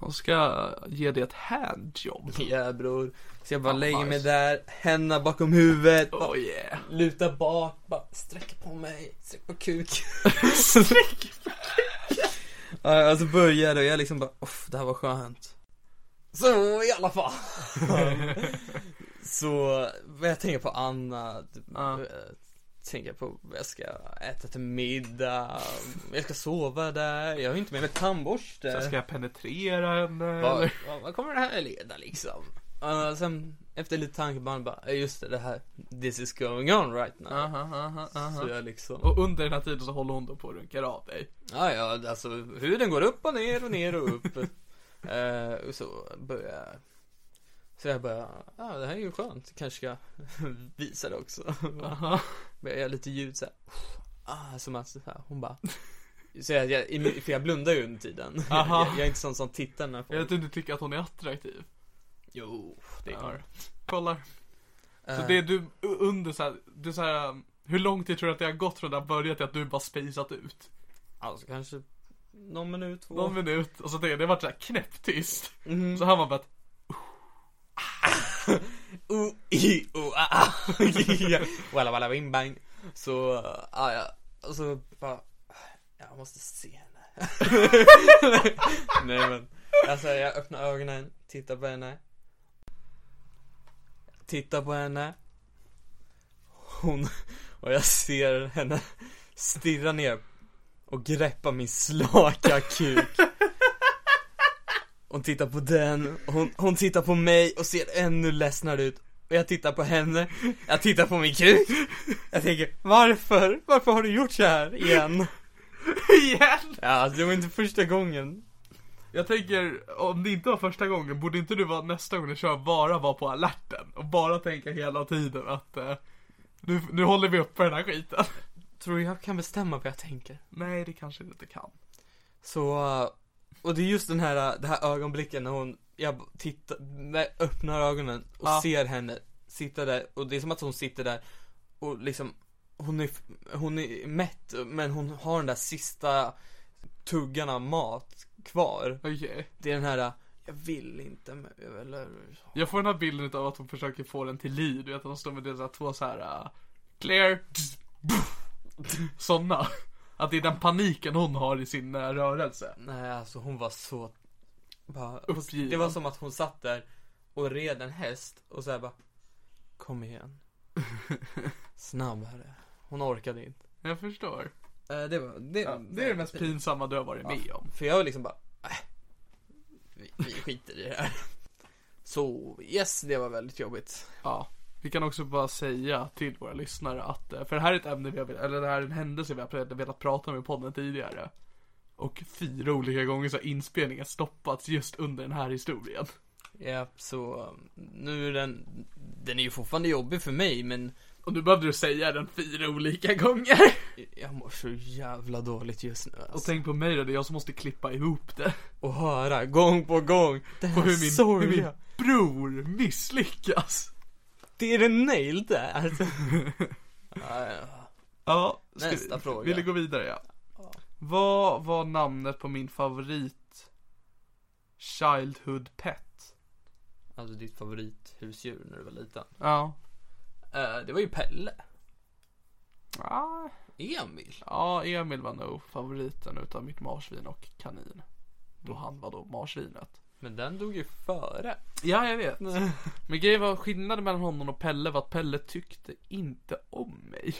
[SPEAKER 3] De ska ge dig ett handjob.
[SPEAKER 4] Ja, bror. Så jag bara
[SPEAKER 3] Ja,
[SPEAKER 4] lägger mig
[SPEAKER 3] nice.
[SPEAKER 4] där, händerna bakom huvudet. bara
[SPEAKER 3] Oh yeah.
[SPEAKER 4] Luta bak, bara sträck på mig, sträck på kuk.
[SPEAKER 3] Sträck.
[SPEAKER 4] Ja, alltså började och jag liksom bara, off, det här var skönt. Så i alla fall. så, men jag tänker på Anna,
[SPEAKER 3] Ja.
[SPEAKER 4] jag tänker på, jag ska äta till middag, jag ska sova där, jag har ju inte med mig tandborste.
[SPEAKER 3] Sen ska jag penetrera henne.
[SPEAKER 4] Vad,
[SPEAKER 3] eller?
[SPEAKER 4] vad, vad kommer det här leda liksom? Ja, sen efter lite tankebarn bara, "Ja, just det, det här, this is going on right now.
[SPEAKER 3] Aha, aha, aha.
[SPEAKER 4] Så jag liksom
[SPEAKER 3] Och under den här tiden så håller hon då på och runkar av dig.
[SPEAKER 4] Ja, ja, alltså huden går upp och ner och ner och
[SPEAKER 3] <laughs>
[SPEAKER 4] upp. eh, och så börjar jag. Så jag bara, ja det här är ju skönt, kanske ska <laughs> visa det också.
[SPEAKER 3] Aha.
[SPEAKER 4] Börjar jag lite ljud så här. Ah, som att så här, hon bara. Så jag, jag, i min- för jag blundar ju under tiden. <laughs> Jag,
[SPEAKER 3] Aha.
[SPEAKER 4] jag är inte sån som tittar när
[SPEAKER 3] Jag vet att
[SPEAKER 4] folk.
[SPEAKER 3] du inte tycker att hon är attraktiv.
[SPEAKER 4] Jo, det är
[SPEAKER 3] Ja.
[SPEAKER 4] klart.
[SPEAKER 3] Kollar. Så
[SPEAKER 4] Eh,
[SPEAKER 3] det är du u- under så här, du så här, um, hur lång tid tror du att det har gått från det har börjat till att du bara spejsat ut?
[SPEAKER 4] Alltså kanske någon minut, två.
[SPEAKER 3] Någon minut, och så det, det har varit så här knäpptyst.
[SPEAKER 4] Mhm.
[SPEAKER 3] Så hör man bara att,
[SPEAKER 4] oh, i, oh, ah, ah. <laughs> Ja. Walla walla bing bang. Så, ah, ja, och så bara, jag måste se henne. <laughs> Nej men, alltså jag öppnar ögonen, tittar på henne. Tittar på henne. Hon, och jag ser henne stirra ner och greppa min slaka kuk. Hon tittar på den, och hon, hon tittar på mig och ser ännu ledsnare ut. Och jag tittar på henne, jag tittar på min kuk. Jag tänker, varför? Varför har du gjort så här igen?
[SPEAKER 3] <laughs> igen!
[SPEAKER 4] Ja, alltså, det var inte första gången.
[SPEAKER 3] Jag tänker, om det inte var första gången, borde inte du vara nästa gång du kör bara vara på alerten? Och bara tänka hela tiden att, eh, nu, nu håller vi uppe den här skiten.
[SPEAKER 4] Tror du jag kan bestämma vad jag tänker?
[SPEAKER 3] Nej, det kanske du inte kan.
[SPEAKER 4] Så, och det är just den här, det här ögonblicken när hon, jag tittar, när jag öppnar ögonen och
[SPEAKER 3] Ja.
[SPEAKER 4] ser henne sitta där och det är som att hon sitter där och liksom, hon är, hon är mätt men hon har den där sista tuggan av mat kvar.
[SPEAKER 3] Okej.
[SPEAKER 4] Det är den här, jag vill inte men jag vill,
[SPEAKER 3] Jag får den här bilden av att hon försöker få den till liv, du vet att de står med deras två så här uh, clear, tss, buff, såna. Att det är den paniken hon har i sin eh, rörelse.
[SPEAKER 4] nej alltså hon var så, bara,
[SPEAKER 3] Uppgiven.
[SPEAKER 4] det var som att hon satt där och red en häst och så här bara, kom igen.
[SPEAKER 3] <laughs>
[SPEAKER 4] Snabbare. Hon orkade inte.
[SPEAKER 3] Jag förstår.
[SPEAKER 4] Eh, Det var, det,
[SPEAKER 3] Ja, det är det mest pinsamma du har varit med om.
[SPEAKER 4] För jag var liksom bara, äh, vi, vi skiter i det här. Så yes, det var väldigt jobbigt.
[SPEAKER 3] Ja. Vi kan också bara säga till våra lyssnare att, eh, för det här är ett ämne vi har, eller det här är en händelse vi har velat prata om i podden tidigare. Och fyra olika gånger så har inspelningen stoppats just under den här historien.
[SPEAKER 4] Ja, så um, nu är den, den är ju fortfarande jobbig för mig men
[SPEAKER 3] Och nu behövde du säga den fyra olika gånger.
[SPEAKER 4] jag mår så jävla dåligt just nu
[SPEAKER 3] Och
[SPEAKER 4] alltså.
[SPEAKER 3] tänk på mig då, det är jag som måste klippa ihop det.
[SPEAKER 4] Och höra gång på gång, det
[SPEAKER 3] På hur
[SPEAKER 4] här
[SPEAKER 3] min, hur min
[SPEAKER 4] sorgliga,
[SPEAKER 3] bror misslyckas.
[SPEAKER 4] det är den nail där. Alltså. <laughs> Ja, ja.
[SPEAKER 3] Ja, ska
[SPEAKER 4] Nästa
[SPEAKER 3] vi,
[SPEAKER 4] fråga.
[SPEAKER 3] Vill du gå vidare ja. Vad var namnet på min favorit Childhood Pet?
[SPEAKER 4] alltså ditt favorithusdjur när du var liten.
[SPEAKER 3] Ja.
[SPEAKER 4] Eh, det var ju Pelle.
[SPEAKER 3] Ah,
[SPEAKER 4] Emil.
[SPEAKER 3] Ja, Emil var nog favoriten utav mitt marsvin och kanin. Då han var då marsvinet.
[SPEAKER 4] Men den dog ju före.
[SPEAKER 3] Ja, jag vet. Men grejen var skillnaden mellan honom och Pelle var att Pelle tyckte inte om mig.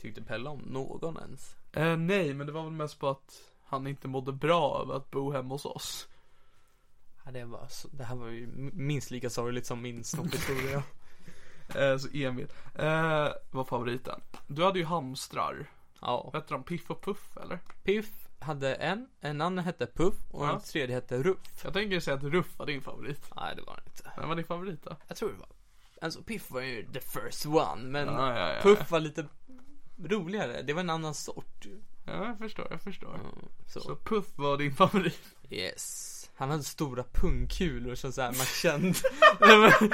[SPEAKER 4] Tyckte Pelle om någon ens?
[SPEAKER 3] Eh, nej, men det var väl mest på att han inte mådde bra över att bo hemma hos oss.
[SPEAKER 4] Ja, det, var så, det här var ju minst lika sorgligt som min snopphistoria.
[SPEAKER 3] Eh, så Emil eh, var favoriten. Du hade ju hamstrar.
[SPEAKER 4] ja.
[SPEAKER 3] Vad hette de? Piff och Puff eller?
[SPEAKER 4] Piff hade en, en annan hette Puff och
[SPEAKER 3] Ja.
[SPEAKER 4] en tredje hette Ruff.
[SPEAKER 3] Jag tänker säga att Ruff var din favorit.
[SPEAKER 4] Nej, det var det inte.
[SPEAKER 3] Vem var din favorit då?
[SPEAKER 4] Jag tror det var. Alltså Piff var ju the first one, men
[SPEAKER 3] Ja, ja, ja.
[SPEAKER 4] Puff var lite roligare. Det var en annan sort.
[SPEAKER 3] Ja, jag förstår, jag förstår.
[SPEAKER 4] Mm. Så.
[SPEAKER 3] Så Puff var din favorit.
[SPEAKER 4] Yes. Han hade stora pungkulor som såhär man
[SPEAKER 3] <laughs>
[SPEAKER 4] kände. Nej, men-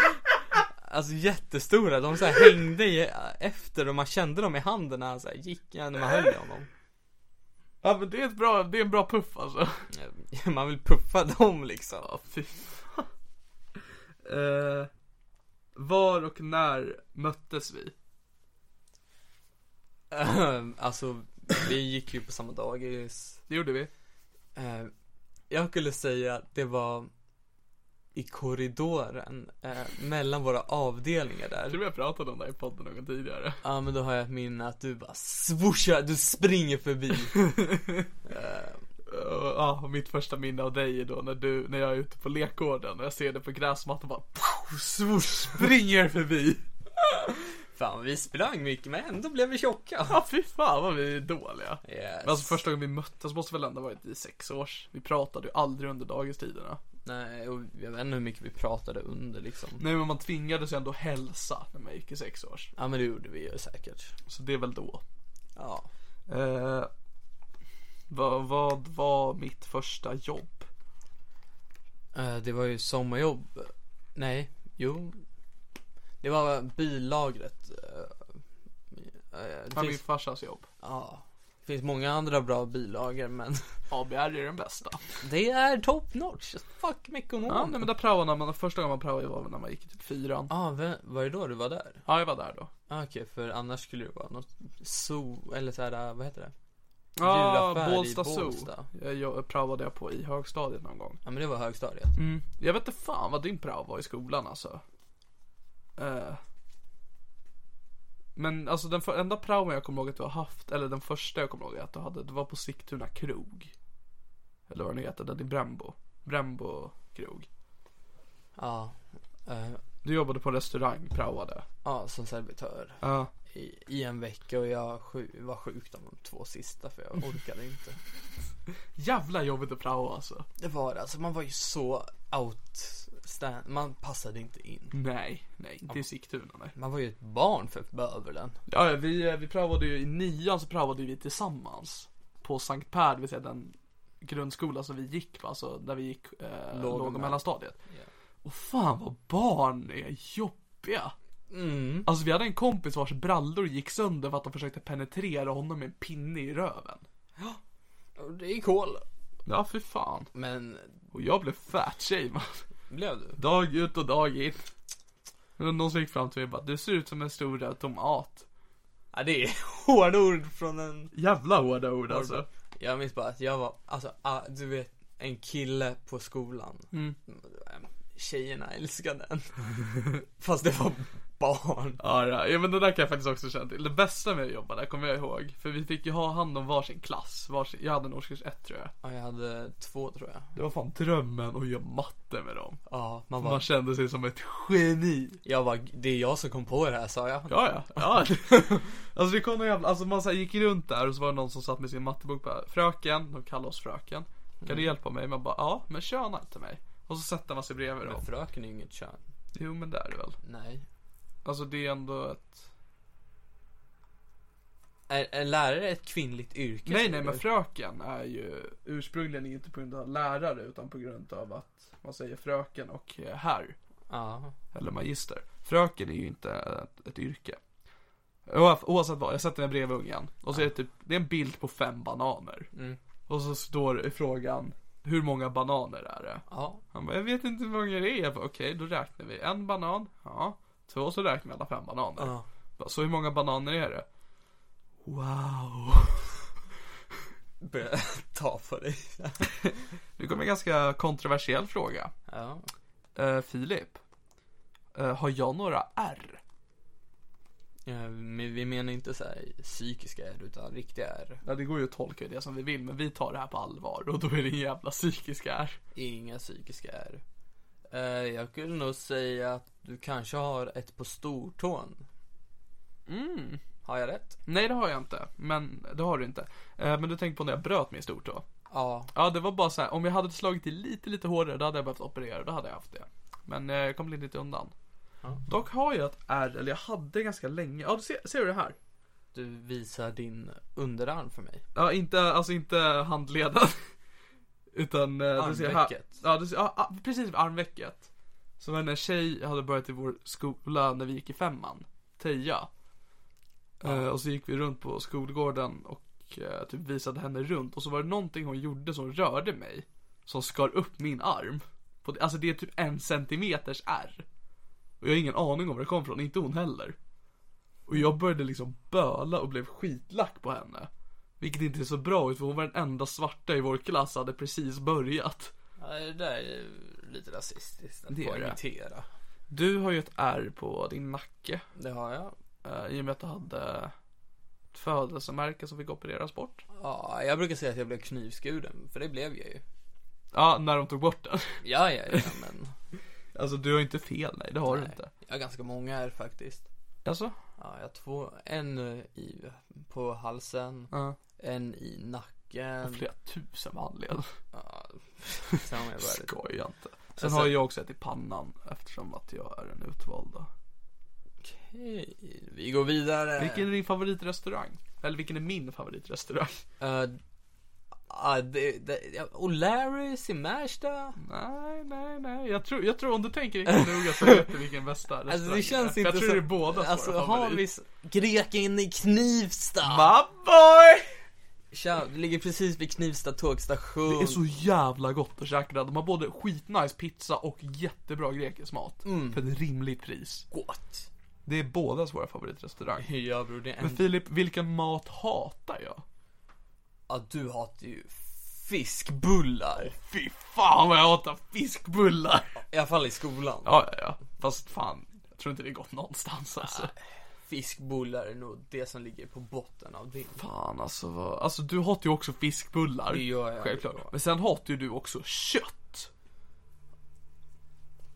[SPEAKER 4] alltså jättestora. De såhär hängde i, efter och man kände dem i handen när han såhär gick, ja, när man höll i honom.
[SPEAKER 3] Ja men det är, ett bra, det är en bra puff alltså.
[SPEAKER 4] Man vill puffa dem liksom.
[SPEAKER 3] Ja, fy fan. eh, Var och när möttes vi?
[SPEAKER 4] alltså, vi gick ju på samma dagis.
[SPEAKER 3] Det gjorde vi.
[SPEAKER 4] Eh, jag skulle säga att det var i korridoren eh, mellan våra avdelningar
[SPEAKER 3] Jag
[SPEAKER 4] där.
[SPEAKER 3] tror vi har pratat om det här i podden någon gång tidigare.
[SPEAKER 4] Ja men då har jag ett minne att du bara swooshar, du springer förbi.
[SPEAKER 3] Eh, Ja, och mitt första minne av dig är då när du, när jag är ute på lekgården och jag ser dig på gräsmattan bara pow, <laughs> swoosh, springer förbi.
[SPEAKER 4] <laughs> Fan vi sprang mycket men ändå blev vi tjocka.
[SPEAKER 3] Ja, fy fan vad vi är dåliga.
[SPEAKER 4] Yes.
[SPEAKER 3] Men alltså första gången vi möttes måste väl ändå ha varit i sex års. Vi pratade ju aldrig under dagistiderna.
[SPEAKER 4] Nej, och jag vet inte hur mycket vi pratade under liksom.
[SPEAKER 3] Nej men man tvingades ju ändå hälsa när man gick i sex års.
[SPEAKER 4] Ja men det gjorde vi ju säkert.
[SPEAKER 3] Så det är väl då.
[SPEAKER 4] Ja.
[SPEAKER 3] Eh, vad, vad var mitt första jobb?
[SPEAKER 4] Eh, Det var ju sommarjobb. Nej, jo. Det var billagret. Eh, eh, Det
[SPEAKER 3] Det var min
[SPEAKER 4] finns,
[SPEAKER 3] farsas jobb.
[SPEAKER 4] ja, det finns många andra bra bilager men <laughs>
[SPEAKER 3] ABR är den bästa.
[SPEAKER 4] det är top notch. Fuck med
[SPEAKER 3] Ja, nej,
[SPEAKER 4] ekonomen.
[SPEAKER 3] men där praoade när man, första gången man praoade var väl när man gick i typ fyran.
[SPEAKER 4] Ja, vem- var det då du var där?
[SPEAKER 3] Ja, jag var där då.
[SPEAKER 4] Ah, Okej, för annars skulle det vara något zoo, eller såhär, vad heter det?
[SPEAKER 3] Ja,
[SPEAKER 4] Djuraffär i
[SPEAKER 3] Bålsta Zoo.
[SPEAKER 4] Bålsta.
[SPEAKER 3] Jag, jag praoade jag på i högstadiet någon gång.
[SPEAKER 4] Ja men det var högstadiet.
[SPEAKER 3] Mm. Jag vet inte fan vad din prao var i skolan alltså. Eh. Men alltså den för, enda praon jag kommer ihåg att du har haft, eller den första jag kommer ihåg att du hade, det var på Sigtuna krog. Eller vad den heter, den i Brembo. Brembo krog.
[SPEAKER 4] Ja. Eh,
[SPEAKER 3] Du jobbade på en restaurang, praoade.
[SPEAKER 4] Ja, som servitör
[SPEAKER 3] Ja.
[SPEAKER 4] i, i en vecka och jag sju, var sjuk de två sista för jag orkade inte.
[SPEAKER 3] Jävla jobbigt att prao alltså.
[SPEAKER 4] Det var det, alltså man var ju så outstand, man passade inte in.
[SPEAKER 3] Nej, nej, inte i Sigtuna nej.
[SPEAKER 4] Man var ju ett barn för bövelen.
[SPEAKER 3] Ja, ja, vi, eh, vi praoade ju i nian så praoade vi tillsammans. På Sankt Per, det vill säga den grundskola som vi gick på, alltså där vi gick eh,
[SPEAKER 4] Låg och
[SPEAKER 3] låg och
[SPEAKER 4] mell-
[SPEAKER 3] mellanstadiet. Och fan vad barn är jobbiga.
[SPEAKER 4] Mm.
[SPEAKER 3] Alltså vi hade en kompis vars brallor gick sönder för att de försökte penetrera honom med en pinne i röven.
[SPEAKER 4] Och Det är kol.
[SPEAKER 3] Ja, för fan.
[SPEAKER 4] Men
[SPEAKER 3] Och jag blev fatshamead.
[SPEAKER 4] blev du?
[SPEAKER 3] <laughs> Dag ut och dag in. Men någon som gick fram till mig och bara, du ser ut som en stor röd tomat.
[SPEAKER 4] Ja det är <laughs> hårda ord från en...
[SPEAKER 3] Jävla hårda ord alltså.
[SPEAKER 4] Jag minns bara att jag var, alltså ah, du vet, en kille på skolan. Mm. Tjejerna älskade den. <laughs> Fast det var barn.
[SPEAKER 3] Ja, ja. ja, men det där kan jag faktiskt också känna till. Det bästa med att jobba där kommer jag ihåg. För vi fick ju ha hand om varsin klass. Varsin, jag hade en årskurs ett tror jag.
[SPEAKER 4] Ja, jag hade två tror jag.
[SPEAKER 3] Det var fan drömmen att göra matte med dem.
[SPEAKER 4] Ja, man
[SPEAKER 3] Man
[SPEAKER 4] var,
[SPEAKER 3] kände sig som ett geni.
[SPEAKER 4] jag var, det är jag som kom på det här sa jag.
[SPEAKER 3] Ja, ja. <laughs> ja. alltså det kom någon jävla, alltså man så här gick runt där och så var det någon som satt med sin mattebok bara Fröken, de kallar oss fröken. Kan du hjälpa mig? Man bara ja, men köna inte mig. Och så sätter man sig bredvid dem.
[SPEAKER 4] Men fröken är ju inget kön.
[SPEAKER 3] Jo men det är det väl.
[SPEAKER 4] Nej.
[SPEAKER 3] Alltså det är ändå ett
[SPEAKER 4] Är, är lärare ett kvinnligt yrke?
[SPEAKER 3] Nej,
[SPEAKER 4] tror
[SPEAKER 3] nej,
[SPEAKER 4] du?
[SPEAKER 3] men fröken är ju ursprungligen inte på grund av lärare utan på grund av att man säger fröken och eh, herr,
[SPEAKER 4] Ja.
[SPEAKER 3] eller magister. Fröken är ju inte ett, ett yrke. Oaf- Oavsett vad, jag sätter mig bredvid ungen och så är det typ, det är en bild på fem bananer.
[SPEAKER 4] Mm.
[SPEAKER 3] Och så står det i frågan, hur många bananer är det?
[SPEAKER 4] Ja.
[SPEAKER 3] Han bara, jag vet inte hur många det är. Jag bara, Okej, då räknar vi en banan, ja. Två, så räknar vi alla fem bananer.
[SPEAKER 4] Ja.
[SPEAKER 3] Bara, Så hur många bananer är det? Wow.
[SPEAKER 4] Börja ta på dig.
[SPEAKER 3] <laughs> Nu kommer en ganska kontroversiell fråga.
[SPEAKER 4] Ja.
[SPEAKER 3] eh, Filip, eh, har jag några R?
[SPEAKER 4] Eh, men vi menar inte så här psykiska är utan riktiga är.
[SPEAKER 3] Ja, det går ju att tolka det som vi vill, men vi tar det här på allvar och då är det en jävla psykisk R.
[SPEAKER 4] Inga psykiska är. Eh, jag skulle nog säga att du kanske har ett på stortån.
[SPEAKER 3] Mm.
[SPEAKER 4] Har jag rätt?
[SPEAKER 3] Nej, det har jag inte, men det har du inte. Eh, men du tänkte på när jag bröt min stortå?
[SPEAKER 4] Ja.
[SPEAKER 3] Ja, det var bara så här, om jag hade slagit i lite, lite hårdare, då hade jag behövt operera, då hade jag haft det. Men eh, jag kom lite undan.
[SPEAKER 4] Ja.
[SPEAKER 3] Dock har jag ett R, eller jag hade ganska länge, ja du ser, ser du det här?
[SPEAKER 4] Du visar din underarm för mig.
[SPEAKER 3] Ja, inte, alltså inte handleden. <laughs> Utan eh, du ser här.
[SPEAKER 4] Armvecket.
[SPEAKER 3] Ja, du ser, ja, ja, precis vid armvecket. Som en tjej hade börjat i vår skola när vi gick i femman. Teija. Eh, och så gick vi runt på skolgården och eh, typ visade henne runt. Och så var det någonting hon gjorde som rörde mig. Som skar upp min arm. På, alltså det är typ en centimeters ärr. Och jag har ingen aning om var det kom från, inte hon heller. Och jag började liksom böla och blev skitlack på henne. Vilket inte är så bra ut för hon var den enda svarta i vår klass och hade precis börjat.
[SPEAKER 4] Ja, det där är ju lite rasistiskt. Att
[SPEAKER 3] Det är det.
[SPEAKER 4] poängtera.
[SPEAKER 3] Du har ju ett R på din nacke.
[SPEAKER 4] Det har jag.
[SPEAKER 3] eh, I och med att du hade ett födelsemärke som fick opereras bort.
[SPEAKER 4] Ja, jag brukar säga att jag blev knivskuren, för det blev jag ju.
[SPEAKER 3] Ja, när de tog bort den.
[SPEAKER 4] Ja, ja,
[SPEAKER 3] <laughs>
[SPEAKER 4] ja, men
[SPEAKER 3] Alltså du har ju inte fel, nej det har du
[SPEAKER 4] Nej.
[SPEAKER 3] inte.
[SPEAKER 4] jag har ganska många är faktiskt.
[SPEAKER 3] Alltså?
[SPEAKER 4] Ja, jag har två, en i, på halsen,
[SPEAKER 3] Ja.
[SPEAKER 4] en i nacken.
[SPEAKER 3] Flera tusen med anledning.
[SPEAKER 4] Ja, <laughs> samma är värdigt.
[SPEAKER 3] Skoja inte. Sen
[SPEAKER 4] Alltså-
[SPEAKER 3] har jag också ett i pannan eftersom att jag är den utvalda.
[SPEAKER 4] Okej, vi går vidare.
[SPEAKER 3] Vilken är din favoritrestaurang? Eller vilken är min favoritrestaurang?
[SPEAKER 4] Eh, ah, det, det, ja, O'Larrys i Märsta.
[SPEAKER 3] Nej, nej, nej. Jag tror, jag tror om du tänker riktigt noga så vet du vilken bästa restaurang
[SPEAKER 4] Alltså det känns
[SPEAKER 3] är.
[SPEAKER 4] inte
[SPEAKER 3] Jag tror
[SPEAKER 4] som-
[SPEAKER 3] det är båda
[SPEAKER 4] Alltså
[SPEAKER 3] våra
[SPEAKER 4] har vi
[SPEAKER 3] favorit.
[SPEAKER 4] s- greken i Knivsta.
[SPEAKER 3] My boy!
[SPEAKER 4] Tja, det ligger precis vid Knivsta tågstation.
[SPEAKER 3] Det är så jävla gott att käka där. De har både skitnice pizza och jättebra grekisk mat.
[SPEAKER 4] Mm.
[SPEAKER 3] För ett rimligt pris.
[SPEAKER 4] gott.
[SPEAKER 3] Det är bådas våra favoritrestaurang.
[SPEAKER 4] Ja bror, det är en...
[SPEAKER 3] Men Filip, vilken mat hatar jag?
[SPEAKER 4] Ja, du hatar ju fiskbullar.
[SPEAKER 3] Fy fan vad jag hatar fiskbullar!
[SPEAKER 4] I alla fall i skolan.
[SPEAKER 3] Ja, ja, ja. Fast fan, jag tror inte det är gott någonstans alltså.
[SPEAKER 4] Fiskbullar är nog det som ligger på botten av din.
[SPEAKER 3] Fan alltså vad... Alltså du hatar ju också fiskbullar.
[SPEAKER 4] Det gör jag.
[SPEAKER 3] Självklart. Men sen hatar ju du också kött.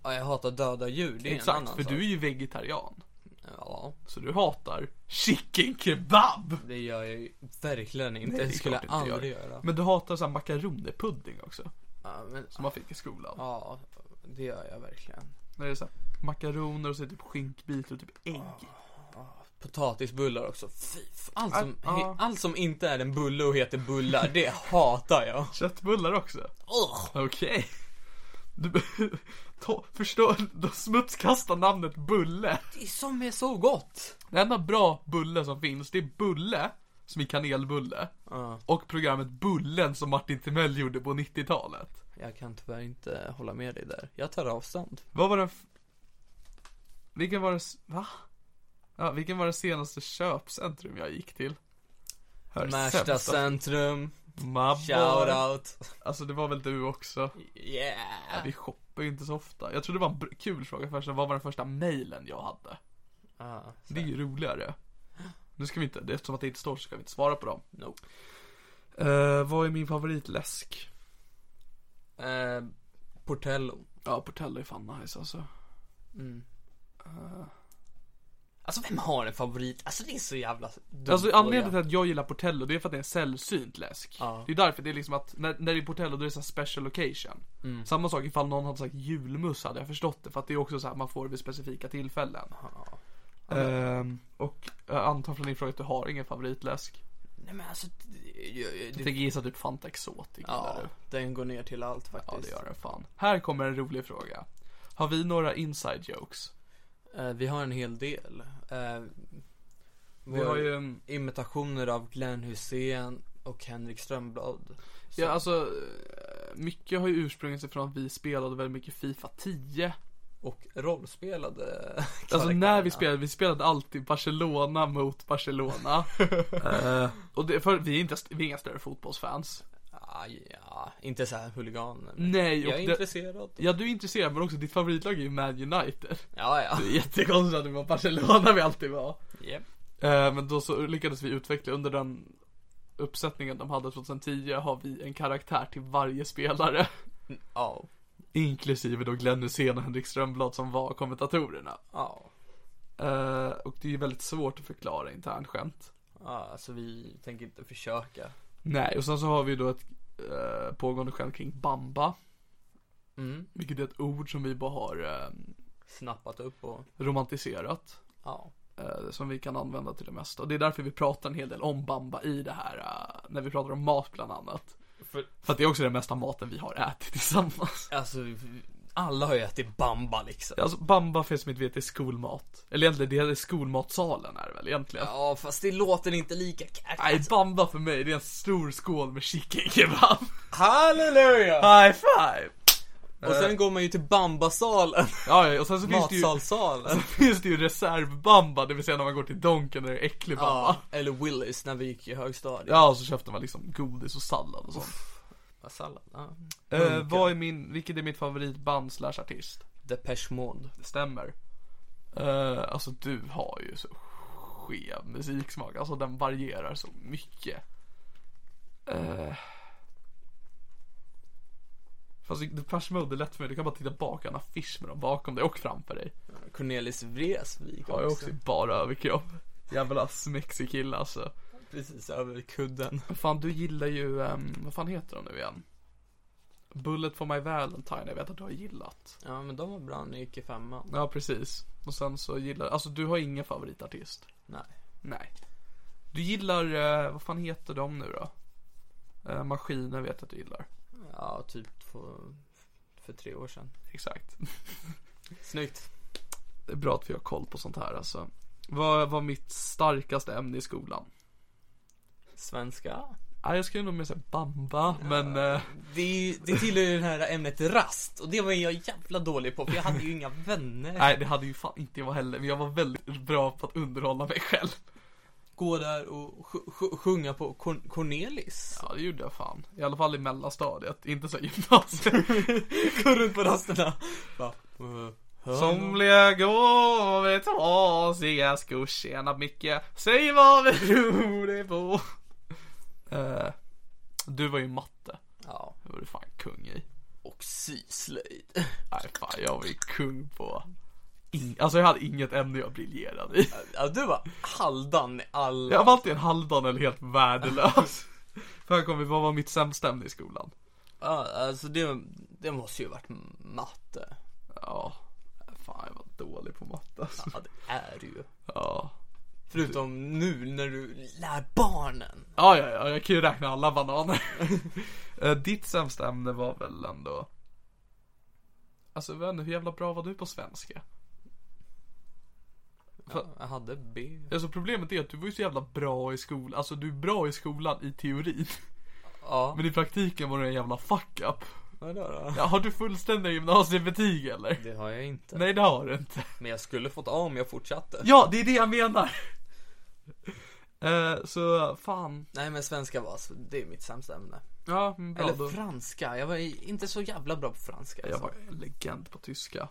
[SPEAKER 4] Ja, jag hatar döda djur. Det är en
[SPEAKER 3] Exakt,
[SPEAKER 4] annan
[SPEAKER 3] för
[SPEAKER 4] sak.
[SPEAKER 3] du är ju vegetarian.
[SPEAKER 4] Ja,
[SPEAKER 3] Så du hatar chicken kebab!
[SPEAKER 4] det gör jag ju verkligen inte.
[SPEAKER 3] Det är
[SPEAKER 4] det skulle
[SPEAKER 3] klart
[SPEAKER 4] jag
[SPEAKER 3] inte gör.
[SPEAKER 4] aldrig göra.
[SPEAKER 3] Men du hatar såhär makaronerpudding också.
[SPEAKER 4] Ja, men,
[SPEAKER 3] Som man fick i skolan.
[SPEAKER 4] ja, det gör jag verkligen.
[SPEAKER 3] När det är såhär makaroner och så är det typ skinkbitar och typ ägg.
[SPEAKER 4] Potatisbullar också. Fy fan. Allt som,
[SPEAKER 3] Ja, ja.
[SPEAKER 4] he, allt som inte är en bulle och heter bullar, det hatar jag.
[SPEAKER 3] Köttbullar också.
[SPEAKER 4] Ugh.
[SPEAKER 3] Okej. Du <laughs> ta, förstår, du smutskastar namnet bulle.
[SPEAKER 4] Det är som är så gott.
[SPEAKER 3] Den enda bra bulle som finns, det är bulle, som i kanelbulle. Och programmet Bullen som Martin Timell gjorde på 90-talet.
[SPEAKER 4] Jag kan tyvärr inte hålla med dig där. Jag tar avstånd.
[SPEAKER 3] Vad var den... F- vilken var det... s- Va? Ja, vilken var det senaste köpcentrum jag gick till? Här,
[SPEAKER 4] Märsta
[SPEAKER 3] sämsta-
[SPEAKER 4] centrum,
[SPEAKER 3] Mabbar.
[SPEAKER 4] shoutout.
[SPEAKER 3] Alltså det var väl du också?
[SPEAKER 4] Yeah.
[SPEAKER 3] Vi shoppar ju inte så ofta. Jag trodde det var en br- kul fråga först, vad var den första mailen jag hade?
[SPEAKER 4] Ah, så-
[SPEAKER 3] Det är ju roligare. Nu ska vi inte, det- eftersom att det inte står så ska vi inte svara på dem.
[SPEAKER 4] Nope.
[SPEAKER 3] Eh, vad är min favoritläsk?
[SPEAKER 4] Eh, Portello.
[SPEAKER 3] Ja, Portello är fan nice alltså.
[SPEAKER 4] Alltså vem har en favorit? Alltså det är så jävla dumt.
[SPEAKER 3] Alltså anledningen till
[SPEAKER 4] att...
[SPEAKER 3] att jag gillar Portello det är för att det är en sällsynt läsk.
[SPEAKER 4] Ja.
[SPEAKER 3] Det är därför det är liksom att när, när det är Portello då är det så här special occasion. Samma sak ifall någon hade sagt julmust hade jag förstått det för att det är också så här man får vid specifika tillfällen. Ehm, och jag antar från din fråga att du har ingen favoritläsk.
[SPEAKER 4] Nej men alltså... Det, det,
[SPEAKER 3] Jag
[SPEAKER 4] det,
[SPEAKER 3] tänker gissa typ Fanta Exotic gillar
[SPEAKER 4] ja,
[SPEAKER 3] du.
[SPEAKER 4] den går ner till allt
[SPEAKER 3] Ja
[SPEAKER 4] faktiskt.
[SPEAKER 3] det gör den fan. Här kommer en rolig fråga. Har vi några inside jokes?
[SPEAKER 4] Eh, vi har en hel del. Eh,
[SPEAKER 3] Vi har ju en...
[SPEAKER 4] imitationer av Glenn Hussein och Henrik Strömblad. Så-
[SPEAKER 3] Ja alltså, eh, mycket har ju ursprungligen sig från att vi spelade väldigt mycket Fifa 10.
[SPEAKER 4] Och rollspelade
[SPEAKER 3] Alltså när vi
[SPEAKER 4] karaktärerna.
[SPEAKER 3] spelade, vi spelade alltid Barcelona mot Barcelona. Eh, och det, för vi är inte, vi är inga större fotbollsfans.
[SPEAKER 4] Ah, ja, ja, inte så här huligan. men
[SPEAKER 3] Nej,
[SPEAKER 4] Jag
[SPEAKER 3] och
[SPEAKER 4] är
[SPEAKER 3] det,
[SPEAKER 4] intresserad.
[SPEAKER 3] ja du är intresserad men också ditt favoritlag är ju Man United. <laughs>
[SPEAKER 4] Ja, ja.
[SPEAKER 3] Det är jättekonstigt att det var Barcelona vi alltid var.
[SPEAKER 4] Yep.
[SPEAKER 3] Eh, Men då så lyckades vi utveckla under den uppsättningen de hade 2010 har vi en karaktär till varje spelare. <laughs>
[SPEAKER 4] Ja.
[SPEAKER 3] Inklusive då Glenn Hysén och Henrik Strömblad som var kommentatorerna.
[SPEAKER 4] Ja.
[SPEAKER 3] Eh, och det är ju väldigt svårt att förklara internt skämt.
[SPEAKER 4] Ja, alltså vi tänker inte försöka.
[SPEAKER 3] Nej, och sen så har vi då ett eh, pågående skämt kring Bamba.
[SPEAKER 4] Mm.
[SPEAKER 3] Vilket är ett ord som vi bara har eh,
[SPEAKER 4] Snappat upp och,
[SPEAKER 3] romantiserat.
[SPEAKER 4] ja.
[SPEAKER 3] eh, Som vi kan använda till det mesta. Och det är därför vi pratar en hel del om Bamba i det här. eh, När vi pratar om mat bland annat.
[SPEAKER 4] För,
[SPEAKER 3] För att det är också den mesta maten vi har ätit tillsammans. <laughs>
[SPEAKER 4] alltså, vi- alla har ju ätit bamba liksom.
[SPEAKER 3] Alltså bamba för er som inte vet är skolmat. Eller egentligen det är skolmatsalen är det väl egentligen.
[SPEAKER 4] Ja, fast det låter inte lika catchy.
[SPEAKER 3] Nej bamba för mig det är en stor skål med chicken kebab.
[SPEAKER 4] Halleluja!
[SPEAKER 3] High five!
[SPEAKER 4] <laughs> Och sen går man ju till <laughs> bambasalen.
[SPEAKER 3] Ja, ja, och sen så finns det ju,
[SPEAKER 4] Matsalsalen.
[SPEAKER 3] finns det ju reservbamba, det vill säga när man går till Donken och det är äcklig bamba.
[SPEAKER 4] <laughs> Ja, eller Willys när vi gick i högstadiet.
[SPEAKER 3] Ja, och så köpte man liksom godis och sallad och sånt.
[SPEAKER 4] Ja. Sallad, ja.
[SPEAKER 3] Eh, vad är min, vilket är mitt favoritband slash artist?
[SPEAKER 4] Depeche Mode.
[SPEAKER 3] Det stämmer. Eh, alltså du har ju så skev musiksmak, alltså den varierar så mycket. Uh, fast det- Depeche Mode är lätt för mig, du kan bara titta bak, han har affisch med dem bakom dig och framför dig.
[SPEAKER 4] Cornelis Vreeswijk
[SPEAKER 3] Har jag också
[SPEAKER 4] också.
[SPEAKER 3] bara överkropp. Jävla smexig kille alltså.
[SPEAKER 4] Precis över kudden.
[SPEAKER 3] Fan du gillar ju, ehm, vad fan heter de nu igen? Bullet for my Valentine, jag vet att du har gillat.
[SPEAKER 4] Ja, men de var bra när jag gick i femman.
[SPEAKER 3] Ja precis. Och sen så gillar, alltså du har ingen favoritartist?
[SPEAKER 4] Nej.
[SPEAKER 3] Nej. Du gillar, eh, vad fan heter de nu då? Eh, maskiner vet jag att du gillar.
[SPEAKER 4] Ja, typ för, för tre år sedan.
[SPEAKER 3] Exakt.
[SPEAKER 4] Snyggt.
[SPEAKER 3] Det är bra att vi har koll på sånt här alltså. Vad var mitt starkaste ämne i skolan?
[SPEAKER 4] Svenska.
[SPEAKER 3] Ah, jag skulle nog mer säga bamba, men eh,
[SPEAKER 4] Det, är ju- det tillhör ju det här ämnet rast och det var jag jävla dålig på för jag hade ju inga vänner.
[SPEAKER 3] nej det hade ju fan inte jag heller. Men jag var väldigt bra på att underhålla mig själv.
[SPEAKER 4] Gå där och sj- sj- sjunga på Corn- Cornelis.
[SPEAKER 3] Ja det gjorde jag fan. I alla fall i mellanstadiet, inte så
[SPEAKER 4] <laughs>
[SPEAKER 3] gymnasiet.
[SPEAKER 4] Gå runt på rasterna. Bara, eh,
[SPEAKER 3] Somliga går med trasiga skor, tjäna mycket, säg vad vi tror det på. Eh, du var ju matte,
[SPEAKER 4] Ja,
[SPEAKER 3] det var du fan kung i.
[SPEAKER 4] och syslöjd.
[SPEAKER 3] Nej fan, jag var ju kung på... In- alltså jag hade inget ämne jag briljerade i.
[SPEAKER 4] Ja, du var halvdan i alla.
[SPEAKER 3] Jag var alltid en halvdan eller helt värdelös. För jag kommer, vad var mitt sämsta ämne i skolan?
[SPEAKER 4] Ja, alltså det, det måste ju varit matte.
[SPEAKER 3] Ja, fan jag var dålig på matte alltså.
[SPEAKER 4] Ja, det är du ju.
[SPEAKER 3] Ja.
[SPEAKER 4] Förutom nu när du lär barnen.
[SPEAKER 3] Ja, ja, ja, jag kan ju räkna alla
[SPEAKER 4] <laughs>
[SPEAKER 3] bananer. Eh, Ditt sämsta ämne var väl ändå... Alltså jag vet inte, hur jävla bra var du på svenska?
[SPEAKER 4] Ja, jag hade B.
[SPEAKER 3] Alltså problemet är att du var ju så jävla bra i skolan, alltså du är bra i skolan i teorin. <laughs>
[SPEAKER 4] Ja,
[SPEAKER 3] Men i praktiken var du en jävla fuck up.
[SPEAKER 4] vadå då?
[SPEAKER 3] Ja, har du fullständiga gymnasiebetyg eller?
[SPEAKER 4] Det har jag inte.
[SPEAKER 3] Nej det har du inte.
[SPEAKER 4] Men jag skulle fått A om jag fortsatte.
[SPEAKER 3] Ja, det är det jag
[SPEAKER 4] <laughs>
[SPEAKER 3] menar. Eh, Så fan.
[SPEAKER 4] Nej men svenska var alltså, det är mitt sämsta ämne.
[SPEAKER 3] Ja, men bra
[SPEAKER 4] Eller
[SPEAKER 3] då.
[SPEAKER 4] franska, jag var i- inte så jävla bra på franska.
[SPEAKER 3] Jag
[SPEAKER 4] Alltså.
[SPEAKER 3] var en legend på tyska.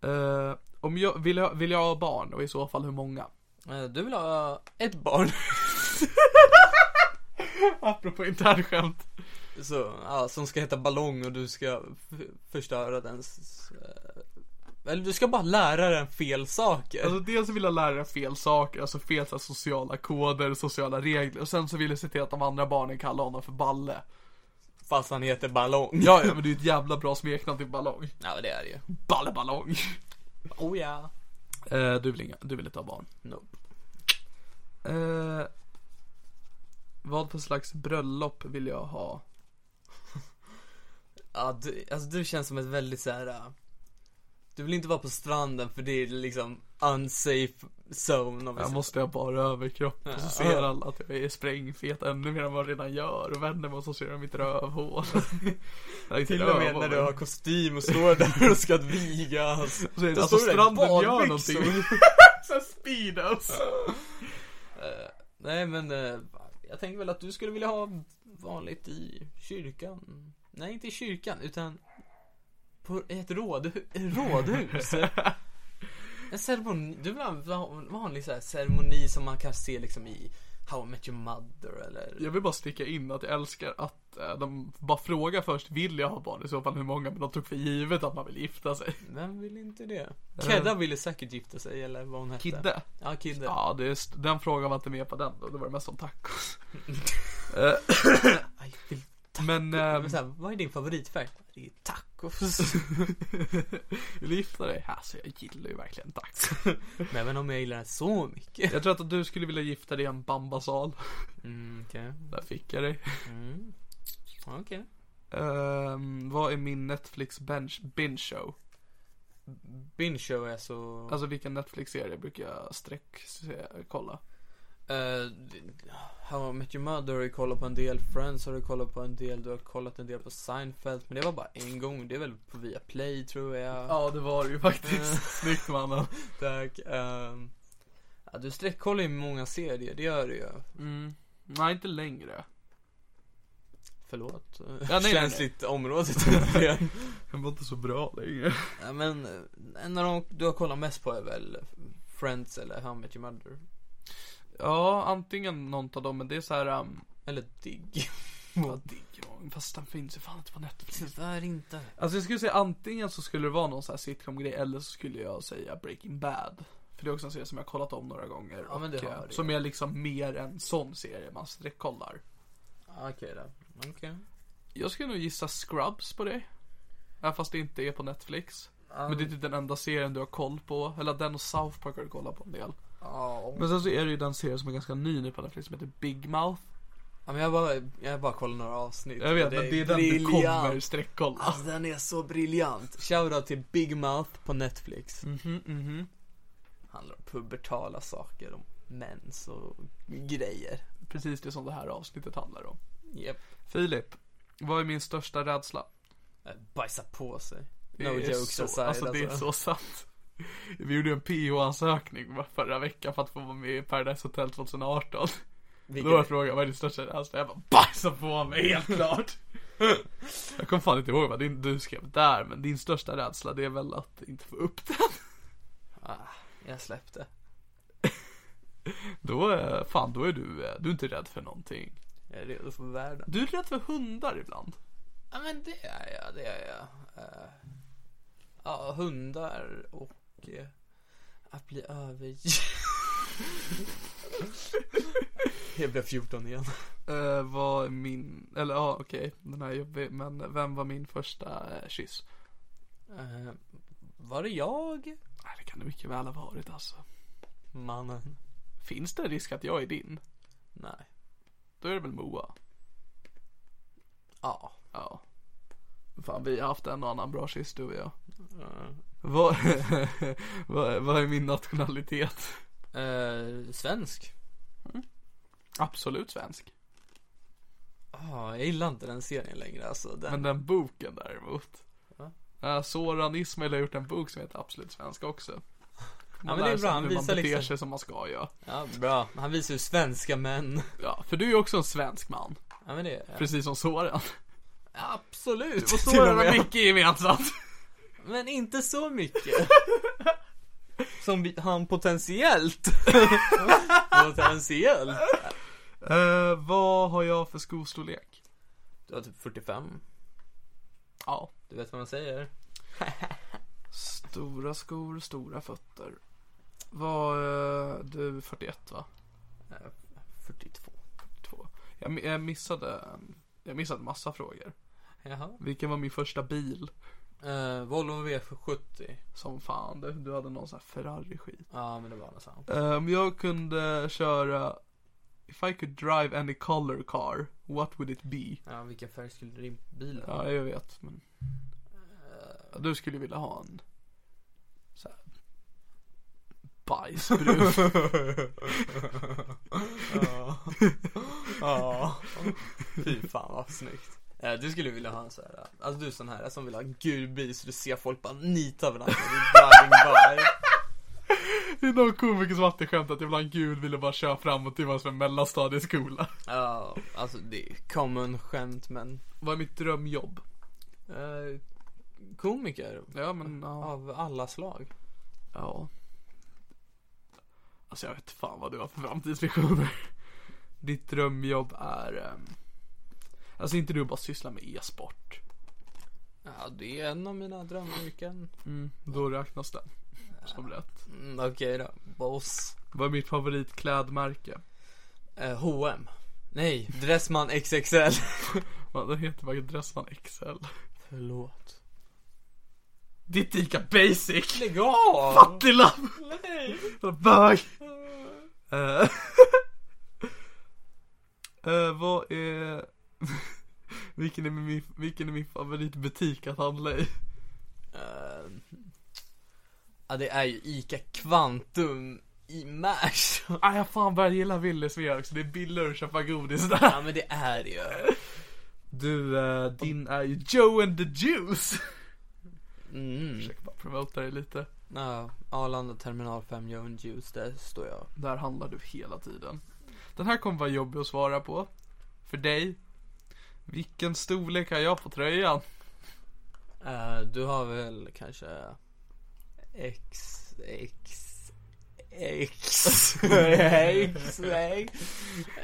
[SPEAKER 3] Eh, om jag, vill, jag, vill jag ha barn och i så fall hur många?
[SPEAKER 4] Eh, Du vill ha ett barn? <laughs>
[SPEAKER 3] Apropå internskämt.
[SPEAKER 4] så, ja, som ska heta ballong och du ska f- förstöra dens... eh, Eller du ska bara lära den fel saker.
[SPEAKER 3] Alltså dels vill jag lära er fel saker, alltså fel så här, sociala koder, sociala regler. Och sen så vill jag se till att de andra barnen kallar honom för Balle.
[SPEAKER 4] Fast han heter ballong.
[SPEAKER 3] Ja, ja men det är ju ett jävla bra smeknamn till Ballong.
[SPEAKER 4] ja men det är det ju.
[SPEAKER 3] Balle Ballong.
[SPEAKER 4] Oh ja.
[SPEAKER 3] Eh, du, vill inga, du vill inte ha barn.
[SPEAKER 4] Nope.
[SPEAKER 3] Eh, vad för slags bröllop vill jag ha?
[SPEAKER 4] Ja, du, alltså du känns som ett väldigt så här. äh, Du vill inte vara på stranden för det är liksom unsafe zone om vi
[SPEAKER 3] Jag
[SPEAKER 4] säger.
[SPEAKER 3] måste jag bara överkropp och så ser alla att jag är sprängfet ännu mer än vad jag redan gör och vänder mig och så ser de mitt
[SPEAKER 4] <laughs>
[SPEAKER 3] rövhål. Det är inte
[SPEAKER 4] Till och med
[SPEAKER 3] rövhål,
[SPEAKER 4] när du
[SPEAKER 3] men-
[SPEAKER 4] har kostym och står där och ska vigas.
[SPEAKER 3] Så är det,
[SPEAKER 4] Då
[SPEAKER 3] alltså
[SPEAKER 4] står du där i
[SPEAKER 3] stranden gör
[SPEAKER 4] badbyxor. <laughs>
[SPEAKER 3] någonting. Så här Speedos.
[SPEAKER 4] Nej men, eh, jag tänker väl att du skulle vilja ha vanligt i kyrkan. Nej, inte i kyrkan, utan på ett rådhu- rådhus. en ceremoni, det var en van- vanlig så här ceremoni som man kan se liksom i How I Met Your Mother eller
[SPEAKER 3] Jag vill bara sticka in att jag älskar att eh, de bara frågar först, vill jag ha barn? I så fall hur många? Men de tog för givet att man vill gifta sig.
[SPEAKER 4] Vem vill inte det? Kedda ville säkert gifta sig eller vad hon hette
[SPEAKER 3] Kidde?
[SPEAKER 4] Ja, Kidde
[SPEAKER 3] Ja, det är st- den frågan var inte med på den. Det var mest om
[SPEAKER 4] <laughs>
[SPEAKER 3] tacos. Eh,
[SPEAKER 4] Aj, vill-
[SPEAKER 3] Men,
[SPEAKER 4] men
[SPEAKER 3] ehm,
[SPEAKER 4] så här, vad är din favoritfärg? Det är tacos
[SPEAKER 3] <laughs> vill du gifta dig? Alltså jag gillar ju verkligen tacos.
[SPEAKER 4] Men även om jag gillar den så mycket
[SPEAKER 3] Jag tror att du skulle vilja gifta dig i en bambasal.
[SPEAKER 4] mm, Okej,
[SPEAKER 3] Där fick jag dig.
[SPEAKER 4] mm. okej
[SPEAKER 3] Ehm, vad är min Netflix bench, binge show?
[SPEAKER 4] Binge show är så
[SPEAKER 3] Alltså vilken Netflix-serie brukar jag streck se- kolla?
[SPEAKER 4] Eh, How I Met Your Mother har du kollat på en del, Friends har du kollat på en del, du har kollat en del på Seinfeld Men det var bara en gång, det är väl på Viaplay tror jag
[SPEAKER 3] Ja, det var det ju <laughs> faktiskt. Snyggt mannen.
[SPEAKER 4] Tack ehm, ja, Du sträckkollar ju många serier, det gör du ju
[SPEAKER 3] Mm. Nej, inte längre.
[SPEAKER 4] Förlåt.
[SPEAKER 3] nej, nej.
[SPEAKER 4] Känsligt <laughs> område tydligen.
[SPEAKER 3] Det var inte så bra längre.
[SPEAKER 4] ja, men eh, en av de du har kollat mest på är väl Friends eller How I Met Your Mother?
[SPEAKER 3] Ja, antingen någon av dem, men det är så här... Um,
[SPEAKER 4] Eller Dig?
[SPEAKER 3] ja, Digimon, fast den finns ju fan inte på Netflix.
[SPEAKER 4] Tyvärr inte.
[SPEAKER 3] Alltså jag skulle säga antingen så skulle det vara någon sån här sitcom-grej eller så skulle jag säga Breaking Bad. För det är också en serie som jag har kollat om några gånger.
[SPEAKER 4] Ja, men det
[SPEAKER 3] och,
[SPEAKER 4] har
[SPEAKER 3] eh,
[SPEAKER 4] det.
[SPEAKER 3] Som är liksom mer en sån serie man streckkollar.
[SPEAKER 4] Okej då. Okej.
[SPEAKER 3] Jag skulle nog gissa Scrubs på dig. Även fast det inte är på Netflix. Men det är typ den enda serien du har koll på. Eller den och South Park har du kollat på en del.
[SPEAKER 4] Ja,
[SPEAKER 3] Men sen så är det ju den serien som är ganska ny nu på Netflix som heter Big Mouth.
[SPEAKER 4] men jag bara, jag bara kollat några avsnitt.
[SPEAKER 3] Jag vet,
[SPEAKER 4] och
[SPEAKER 3] men det är den du
[SPEAKER 4] briljant.
[SPEAKER 3] kommer streckkolla.
[SPEAKER 4] Alltså den är så briljant. Shoutout till Big Mouth på Netflix.
[SPEAKER 3] Mhm, mhm.
[SPEAKER 4] Handlar om pubertala saker, om mens och grejer.
[SPEAKER 3] Precis det som det här avsnittet handlar om.
[SPEAKER 4] Japp.
[SPEAKER 3] Filip, vad är min största rädsla?
[SPEAKER 4] Bajsa på sig.
[SPEAKER 3] Det
[SPEAKER 4] No
[SPEAKER 3] är
[SPEAKER 4] jokes
[SPEAKER 3] så,
[SPEAKER 4] aside
[SPEAKER 3] Alltså det är så sant. Vi gjorde en PO-ansökning va, förra veckan för att få vara med i Paradise Hotel 2018.
[SPEAKER 4] Vilket-
[SPEAKER 3] Då var frågan, vad är din största rädsla? Jag bara, bajsa på mig helt <laughs> klart. Jag kommer fan inte ihåg vad din, du skrev där, men din största rädsla det är väl att inte få upp den.
[SPEAKER 4] Ah, jag släppte.
[SPEAKER 3] Då, är- fan då är du, eh, du är inte rädd för någonting.
[SPEAKER 4] Jag är redo för världen.
[SPEAKER 3] Du är rädd för hundar ibland.
[SPEAKER 4] Ja men det är jag, det är jag. Eh, ja, hundar och eh, att bli övergiven. <laughs> jag blev 14 igen.
[SPEAKER 3] Eh, var min, eller ja okej, den här är jobbig, men vem var min första eh, kyss?
[SPEAKER 4] Eh, var det jag?
[SPEAKER 3] Nej, det kan det mycket väl ha varit alltså.
[SPEAKER 4] Mannen.
[SPEAKER 3] Finns det en risk att jag är din?
[SPEAKER 4] Nej.
[SPEAKER 3] Då är det väl Moa.
[SPEAKER 4] Ja.
[SPEAKER 3] Ja. Fan, vi har haft en och annan bra kyss du och jag.
[SPEAKER 4] Eh,
[SPEAKER 3] Vad, <laughs> vad, vad är min nationalitet?
[SPEAKER 4] eh, svensk.
[SPEAKER 3] Absolut svensk.
[SPEAKER 4] Ah, jag gillar inte den serien längre alltså. Den,
[SPEAKER 3] Men den boken däremot. Äh,
[SPEAKER 4] Va?
[SPEAKER 3] Ja. Soran Ismail har gjort en bok som heter Absolut svensk också. Man
[SPEAKER 4] men det är
[SPEAKER 3] lär sig
[SPEAKER 4] bra, han
[SPEAKER 3] hur man
[SPEAKER 4] visar
[SPEAKER 3] beter
[SPEAKER 4] liksom-
[SPEAKER 3] sig som man ska göra.
[SPEAKER 4] Ja, bra. Han visar ju svenska män.
[SPEAKER 3] Ja, för du är ju också en svensk man.
[SPEAKER 4] Ja men det är jag.
[SPEAKER 3] Precis som Soran. <laughs>
[SPEAKER 4] Absolut.
[SPEAKER 3] Och
[SPEAKER 4] till
[SPEAKER 3] Soran har mycket gemensamt.
[SPEAKER 4] Men inte så mycket. Som vi- han <laughs> potentiellt. potentiellt.
[SPEAKER 3] Eh, vad har jag för skostorlek?
[SPEAKER 4] Du var typ 45.
[SPEAKER 3] Ja.
[SPEAKER 4] Du vet vad man säger?
[SPEAKER 3] Stora skor, stora fötter. Var eh, du 41 va?
[SPEAKER 4] Eh, 42.
[SPEAKER 3] Två. Jag, mi- jag missade en- jag missade massa frågor.
[SPEAKER 4] Jaha.
[SPEAKER 3] Vilken var min första bil?
[SPEAKER 4] Eh, Volvo V70.
[SPEAKER 3] Som fan, du, du hade någon sån här Ferrari-skit.
[SPEAKER 4] Ja men det var något sånt.
[SPEAKER 3] Eh, Om jag kunde köra If I could drive any color car, what would it be?
[SPEAKER 4] Ja vilken färg skulle din bil ha?
[SPEAKER 3] Ja, jag vet men
[SPEAKER 4] Eh,
[SPEAKER 3] du skulle vilja ha en så här bajsbrun.
[SPEAKER 4] Ja. <laughs> Ja. Fy fan vad snyggt. Eh, Du skulle vilja ha en sån här, alltså du är sån här som vill ha gul bil så du ser folk bara nita varandra när du är driving by.
[SPEAKER 3] <laughs> Det är någon komiker som alltid skämtat att ibland Gud ville bara köra framåt till vad som en mellanstadieskola.
[SPEAKER 4] Ja, alltså det är common skämt men
[SPEAKER 3] Vad är mitt drömjobb?
[SPEAKER 4] eh, Komiker
[SPEAKER 3] Ja men ja.
[SPEAKER 4] av alla slag
[SPEAKER 3] ja. Alltså jag vet fan vad du har för framtidsvisioner. Ditt drömjobb är... ehm, Alltså inte du bara syssla med e-sport.
[SPEAKER 4] Ja, det är en av mina drömyrken
[SPEAKER 3] Då räknas den. Som rätt.
[SPEAKER 4] mm, Okej då, boss
[SPEAKER 3] Vad är mitt favoritklädmärke?
[SPEAKER 4] eh, H&M Nej, Dressman XXL
[SPEAKER 3] Ja, den heter bara Dressman XL.
[SPEAKER 4] Förlåt
[SPEAKER 3] Ditt ICA Basic!
[SPEAKER 4] Lägg av!
[SPEAKER 3] Fattiglapp!
[SPEAKER 4] Nej! <laughs>
[SPEAKER 3] Bög! Eh, <laughs> eh, vad är... <laughs> vilken, är min, vilken är min favoritbutik att handla i?
[SPEAKER 4] Eh, ja, det är ju ICA Kvantum i Märsta
[SPEAKER 3] Ah, jag fan börjar gilla Willys mer också, det är billigare att köpa godis
[SPEAKER 4] Ja
[SPEAKER 3] där.
[SPEAKER 4] men det är det ju.
[SPEAKER 3] Du, eh, din är ju Joe and the Juice. <laughs>
[SPEAKER 4] Mm.
[SPEAKER 3] Försöker bara promota dig lite.
[SPEAKER 4] Ja, Arlanda terminal 5 Joan Juice, där står jag.
[SPEAKER 3] Där handlar du hela tiden. Den här kommer vara jobbig att svara på. För dig. Vilken storlek har jag på tröjan?
[SPEAKER 4] Eh, du har väl kanske X, X, X, X,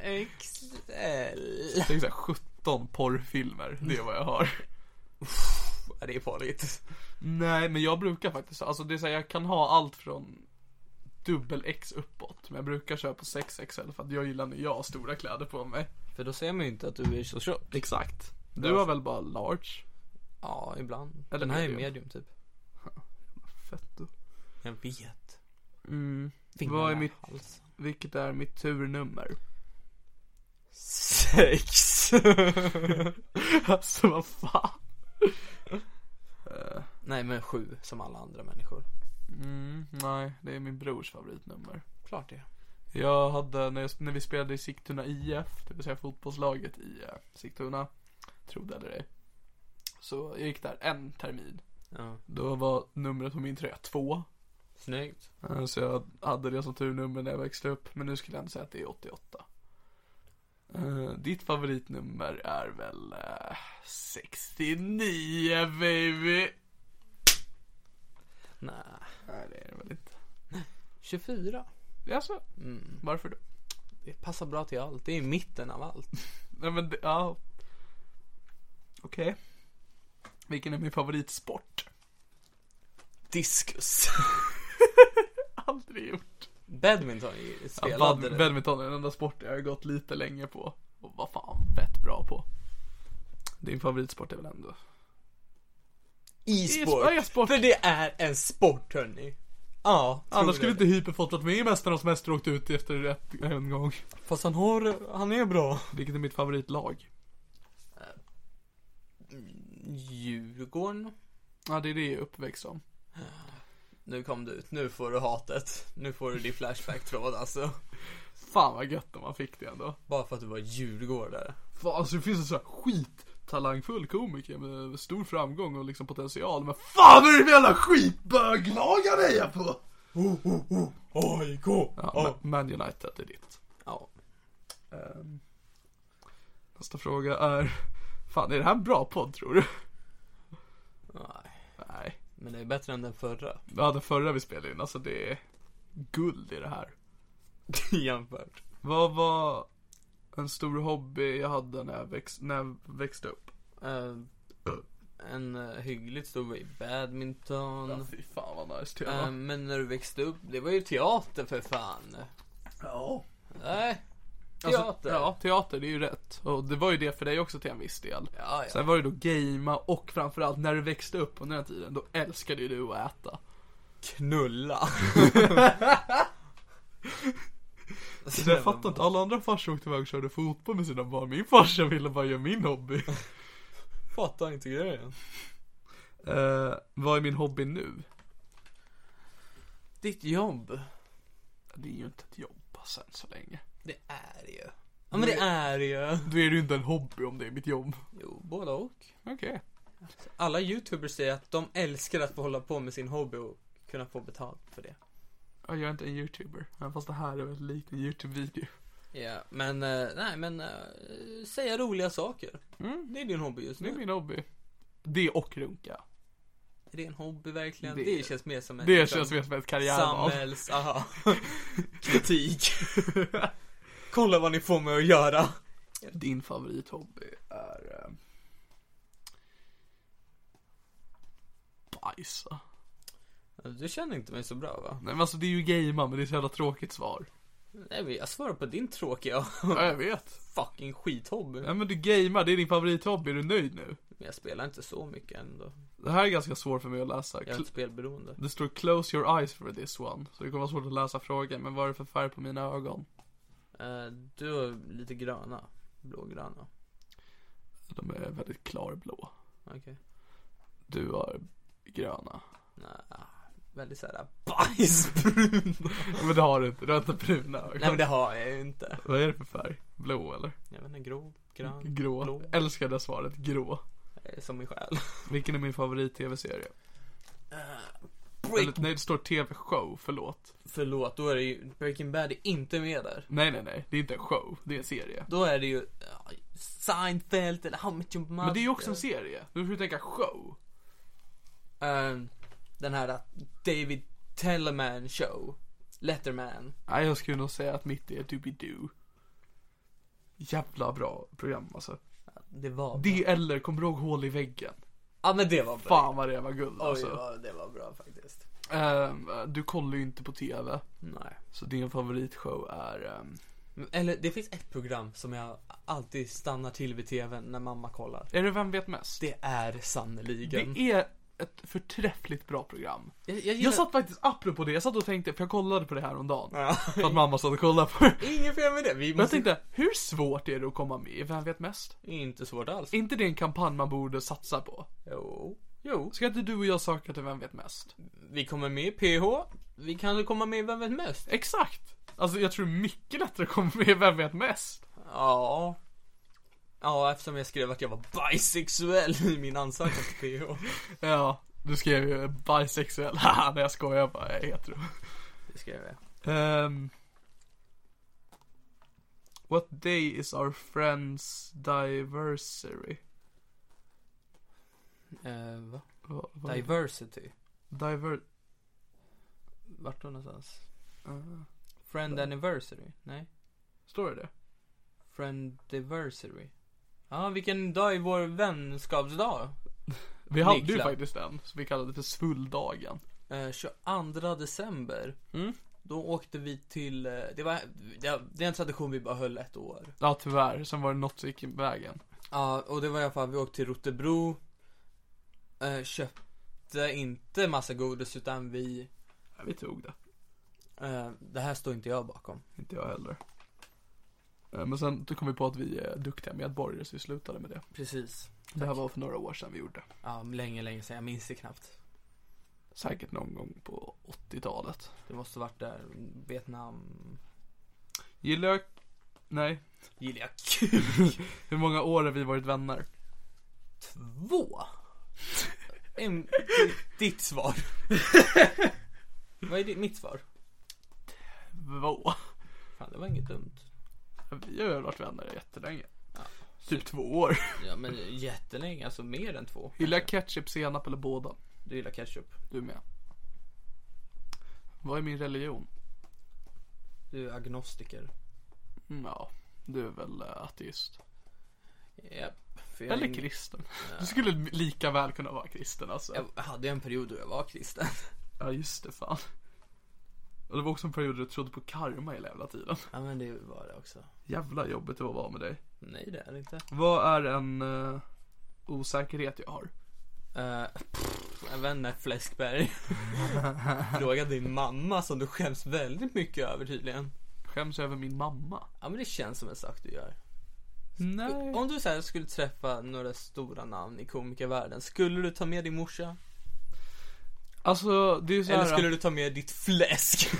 [SPEAKER 4] X, L.
[SPEAKER 3] Tänk såhär 17 porrfilmer, det är vad jag har.
[SPEAKER 4] Ja, Det är farligt.
[SPEAKER 3] Nej, men jag brukar faktiskt, alltså det är så här, jag kan ha allt från dubbel X uppåt. Men jag brukar köra på 6XL för att jag gillar när jag har stora kläder på mig.
[SPEAKER 4] För då ser man ju inte att du är så tjock.
[SPEAKER 3] Exakt. Du har väl bara large?
[SPEAKER 4] Ja, ibland.
[SPEAKER 3] Eller
[SPEAKER 4] Den här är
[SPEAKER 3] medium.
[SPEAKER 4] medium typ.
[SPEAKER 3] Fett du.
[SPEAKER 4] Jag vet.
[SPEAKER 3] Mm.
[SPEAKER 4] Fingrarna
[SPEAKER 3] Vad är
[SPEAKER 4] i
[SPEAKER 3] mitt-
[SPEAKER 4] halsen.
[SPEAKER 3] Vilket är mitt turnummer?
[SPEAKER 4] <laughs> Sex.
[SPEAKER 3] alltså vad fan. Eh,
[SPEAKER 4] Nej men sju, som alla andra människor.
[SPEAKER 3] mm, nej, det är min brors favoritnummer.
[SPEAKER 4] Klart det.
[SPEAKER 3] Jag hade, när, jag, när vi spelade i Sigtuna IF, det vill säga fotbollslaget i eh, Sigtuna, trodde eller ej. Så jag gick där en termin.
[SPEAKER 4] Ja.
[SPEAKER 3] Då var numret på min tröja två.
[SPEAKER 4] Snyggt.
[SPEAKER 3] Eh, Så jag hade det som turnummer när jag växte upp, men nu skulle jag inte säga att det är 88. Eh, ditt favoritnummer är väl eh, 69 baby?
[SPEAKER 4] Nej.
[SPEAKER 3] Nej det är det väl inte.
[SPEAKER 4] 24.
[SPEAKER 3] Jaså?
[SPEAKER 4] Mm.
[SPEAKER 3] Alltså, Varför då?
[SPEAKER 4] Det passar bra till allt. Det är i mitten av allt.
[SPEAKER 3] Nej men det, ja. Okej. Vilken är min favoritsport? <laughs>
[SPEAKER 4] Diskus.
[SPEAKER 3] Aldrig gjort.
[SPEAKER 4] <laughs> Badminton i-
[SPEAKER 3] Ja,
[SPEAKER 4] spelade
[SPEAKER 3] bad,
[SPEAKER 4] du.
[SPEAKER 3] badminton är den enda sporten jag har gått lite länge på. Och vad fan fett bra på. Din favoritsport är väl ändå?
[SPEAKER 4] E-sport.
[SPEAKER 3] E-sport.
[SPEAKER 4] För det är en sport hörni. Ja, tror
[SPEAKER 3] Annars skulle
[SPEAKER 4] det.
[SPEAKER 3] inte Hyper fått vara med i Mästarnas Mästare och åkt ut efter ett, en gång.
[SPEAKER 4] Fast han har, han är bra.
[SPEAKER 3] Vilket är mitt favoritlag?
[SPEAKER 4] Djurgården.
[SPEAKER 3] Ja, det är det jag är uppväxt som.
[SPEAKER 4] Nu kom du ut, nu får du hatet. Nu får du din flashback-tråd alltså.
[SPEAKER 3] Fan vad gött om man fick det ändå.
[SPEAKER 4] Bara för att du var djurgårdare.
[SPEAKER 3] Fan, alltså det finns en sån här skittalangfull komiker med stor framgång och liksom potential. Men fan vad är det för jävla skitböglag han hejar på?
[SPEAKER 4] AIK!
[SPEAKER 3] Ja,
[SPEAKER 4] Ja.
[SPEAKER 3] Ma- Man United är ditt. Ehm,
[SPEAKER 4] ja.
[SPEAKER 3] Nästa fråga är... Fan, är det här en bra podd tror du?
[SPEAKER 4] Nej.
[SPEAKER 3] Nej.
[SPEAKER 4] Men det är bättre än den förra. <laughs>
[SPEAKER 3] Ja, den förra vi spelade in, alltså det är guld i det här.
[SPEAKER 4] Jämfört.
[SPEAKER 3] Vad var en stor hobby jag hade när jag, växt, när jag växte upp?
[SPEAKER 4] Eh, en uh, hyggligt stor i badminton.
[SPEAKER 3] Ja, fy fan vad nice
[SPEAKER 4] Eh,
[SPEAKER 3] tema.
[SPEAKER 4] men när du växte upp, det var ju teater för fan.
[SPEAKER 3] ja.
[SPEAKER 4] Nej.
[SPEAKER 3] Alltså,
[SPEAKER 4] Teater.
[SPEAKER 3] Ja, teater, det är ju rätt. Och det var ju det för dig också till en viss del.
[SPEAKER 4] ja, ja.
[SPEAKER 3] Sen var det då gamea och framförallt när du växte upp under den här tiden, då älskade ju du att äta. <laughs>
[SPEAKER 4] Knulla.
[SPEAKER 3] Så jag fattar inte, alla andra farsor åkte iväg och körde fotboll med sina barn. Min farsa ville bara göra min hobby.
[SPEAKER 4] <laughs> Fattar inte grejen.
[SPEAKER 3] Eh, vad är min hobby nu?
[SPEAKER 4] Ditt jobb.
[SPEAKER 3] Det är ju inte ett jobb sen så länge.
[SPEAKER 4] Det är det ju. Ja men det är det ju.
[SPEAKER 3] Då är det ju inte en hobby om det är mitt jobb.
[SPEAKER 4] Jo, både och.
[SPEAKER 3] Okej.
[SPEAKER 4] Alla youtubers säger att de älskar att få hålla på med sin hobby och kunna få betalt för det.
[SPEAKER 3] Ja, jag är inte en youtuber. Men fast det här är väldigt likt en youtube-video.
[SPEAKER 4] Ja, men eh, nej men eh, säga roliga saker.
[SPEAKER 3] Mm.
[SPEAKER 4] Det är din hobby just
[SPEAKER 3] Det är
[SPEAKER 4] nu.
[SPEAKER 3] min hobby. Det och runka.
[SPEAKER 4] Är det en hobby verkligen?
[SPEAKER 3] Det-
[SPEAKER 4] Det, känns mer som en
[SPEAKER 3] Det
[SPEAKER 4] liksom,
[SPEAKER 3] känns mer som ett karriärval. <laughs>
[SPEAKER 4] samhälls... Aha. Kritik. Kolla vad ni får mig att göra.
[SPEAKER 3] Din favorithobby är... Eh... Bajsa.
[SPEAKER 4] Du känner inte mig så bra va?
[SPEAKER 3] Nej men alltså det är ju gamea men det är ett så jävla tråkigt svar.
[SPEAKER 4] Nej, men jag svarar på din tråkiga <laughs>
[SPEAKER 3] Ja jag vet.
[SPEAKER 4] fucking skithobby.
[SPEAKER 3] Nej men du gamear, det är din favorithobby, är du nöjd nu?
[SPEAKER 4] Men jag spelar inte så mycket ändå.
[SPEAKER 3] Det här är ganska svårt för mig att läsa.
[SPEAKER 4] Jag är
[SPEAKER 3] Cl-
[SPEAKER 4] ett spelberoende.
[SPEAKER 3] Det står 'close your eyes for this one' Så det kommer vara svårt att läsa frågan, men vad är det för färg på mina ögon?
[SPEAKER 4] Eh, du har lite gröna. Blågröna.
[SPEAKER 3] De är väldigt klarblå
[SPEAKER 4] Okej.
[SPEAKER 3] Du har gröna
[SPEAKER 4] Nej, väldigt såhär äh, bajsbrun.
[SPEAKER 3] Men det har du inte, du har inte bruna ögon
[SPEAKER 4] Nej men det har jag ju inte.
[SPEAKER 3] Vad är det för färg? Blå eller?
[SPEAKER 4] Jag vet inte, grå, grön,
[SPEAKER 3] Grå,
[SPEAKER 4] blå.
[SPEAKER 3] älskar det svaret, grå
[SPEAKER 4] Eh, Som min själ.
[SPEAKER 3] Vilken är min favorit-tv-serie? Eller,
[SPEAKER 4] Break...
[SPEAKER 3] nej det står tv-show, förlåt
[SPEAKER 4] Förlåt, då är det ju Breaking Bad är inte med där.
[SPEAKER 3] Nej nej nej, det är inte en show, det är en serie
[SPEAKER 4] Då är det ju ja, Seinfeld eller How Much Your Mother.
[SPEAKER 3] Men det är ju också en serie, du får ju tänka show
[SPEAKER 4] Ehm, den här eh, David Tellerman show. Letterman.
[SPEAKER 3] Nej jag skulle nog säga att mitt är Doobidoo Jävla bra program alltså
[SPEAKER 4] Det var bra.
[SPEAKER 3] Det eller, kommer du ihåg Hål i väggen?
[SPEAKER 4] Ja men det var bra.
[SPEAKER 3] Fan vad det var guld
[SPEAKER 4] Oj,
[SPEAKER 3] alltså.
[SPEAKER 4] vad det var bra faktiskt.
[SPEAKER 3] Ehm, du kollar ju inte på TV,
[SPEAKER 4] Nej.
[SPEAKER 3] så din favoritshow är... ehm,
[SPEAKER 4] Eller det finns ett program som jag alltid stannar till vid tvn när mamma kollar.
[SPEAKER 3] är det Vem vet mest?
[SPEAKER 4] Det är sannerligen.
[SPEAKER 3] Det är ett förträffligt bra program.
[SPEAKER 4] Jag, jag,
[SPEAKER 3] Jag satt faktiskt, apropå det, jag satt och tänkte, för jag kollade på det här om dagen.
[SPEAKER 4] Ja.
[SPEAKER 3] För att mamma satt och kollade på det.
[SPEAKER 4] <laughs> Inget fel med det. Vi
[SPEAKER 3] Men jag
[SPEAKER 4] måste...
[SPEAKER 3] tänkte, hur svårt är det att komma med i Vem vet mest?
[SPEAKER 4] Inte svårt alls.
[SPEAKER 3] Är inte det en kampanj man borde satsa på?
[SPEAKER 4] Jo.
[SPEAKER 3] Jo. Ska inte du och jag söka till Vem vet mest?
[SPEAKER 4] Vi kommer med i PH. Vi kan komma med i Vem vet mest?
[SPEAKER 3] Exakt! Alltså jag tror mycket lättare att komma med i Vem vet mest.
[SPEAKER 4] Ja. Ja, eftersom jag skrev att jag var bisexuell i min ansökan till PH.
[SPEAKER 3] Ja, du skrev ju bisexuell. <laughs> Haha, nej jag skojar bara, jag är hetero.
[SPEAKER 4] <laughs> Det skrev jag.
[SPEAKER 3] Ehm, what day is our friends diversity?
[SPEAKER 4] Eh, va?
[SPEAKER 3] Va, va,
[SPEAKER 4] Diversity.
[SPEAKER 3] diver...
[SPEAKER 4] Vart då någonstans?
[SPEAKER 3] Uh,
[SPEAKER 4] Friend anniversary? Nej.
[SPEAKER 3] står det det?
[SPEAKER 4] Friendiversary. Ja, vilken dag är vår vänskapsdag?
[SPEAKER 3] Vi hade ju
[SPEAKER 4] Niklas.
[SPEAKER 3] faktiskt en som vi kallade för svulldagen.
[SPEAKER 4] Eh, 22 december.
[SPEAKER 3] Mm.
[SPEAKER 4] Då åkte vi till, eh, det var, det, det är en tradition vi bara höll ett år.
[SPEAKER 3] Ja tyvärr, sen var det något som gick i vägen.
[SPEAKER 4] Ja, och det var i alla fall, vi åkte till Rotebro. Eh, köpte inte massa godis utan vi,
[SPEAKER 3] Ja, vi tog det.
[SPEAKER 4] eh, det här står inte jag bakom.
[SPEAKER 3] Inte jag heller. Eh, Men sen då kom vi på att vi är duktiga medborgare så vi slutade med det.
[SPEAKER 4] Precis.
[SPEAKER 3] Det här var för några år sedan vi gjorde.
[SPEAKER 4] Ja, länge, länge sedan, jag minns det knappt.
[SPEAKER 3] Säkert någon gång på 80-talet.
[SPEAKER 4] Det måste varit där, Vietnam.
[SPEAKER 3] Gillar jag... Nej.
[SPEAKER 4] Gillar jag <laughs> kuk?
[SPEAKER 3] Hur många år har vi varit vänner?
[SPEAKER 4] Två? En, ditt svar. <laughs> Vad är ditt, mitt svar?
[SPEAKER 3] Två.
[SPEAKER 4] Fan, det var inget dumt.
[SPEAKER 3] Vi har ju varit vänner jättelänge.
[SPEAKER 4] Ja.
[SPEAKER 3] Typ två år.
[SPEAKER 4] Ja men jättelänge, alltså mer än två.
[SPEAKER 3] Gillar jag ketchup, senap eller båda?
[SPEAKER 4] Du gillar ketchup.
[SPEAKER 3] Du med. Vad är min religion?
[SPEAKER 4] Du är agnostiker.
[SPEAKER 3] Mm, Ja, du är väl eh, ateist.
[SPEAKER 4] Japp. För jag är
[SPEAKER 3] Eller
[SPEAKER 4] ing-
[SPEAKER 3] kristen. Du skulle lika väl kunna vara kristen alltså.
[SPEAKER 4] Jag hade en period då jag var kristen.
[SPEAKER 3] Ja, just det fan. Och det var också en period där du trodde på karma hela jävla tiden.
[SPEAKER 4] <laughs> Ja men det var det också.
[SPEAKER 3] Jävla jobbigt det var att vara med dig.
[SPEAKER 4] Nej det är det inte.
[SPEAKER 3] Vad är en eh, osäkerhet jag har?
[SPEAKER 4] Uh, jag vet inte, <laughs> Fläskberg. Fråga din mamma som du skäms väldigt mycket över tydligen.
[SPEAKER 3] Skäms jag över min mamma?
[SPEAKER 4] Ja men det känns som en sak du gör.
[SPEAKER 3] Nej.
[SPEAKER 4] Om du så här skulle träffa några stora namn i komikervärlden, skulle du ta med din morsa?
[SPEAKER 3] Alltså, det är ju så
[SPEAKER 4] Eller
[SPEAKER 3] här-
[SPEAKER 4] skulle du ta med
[SPEAKER 3] <laughs>
[SPEAKER 4] ditt fläsk?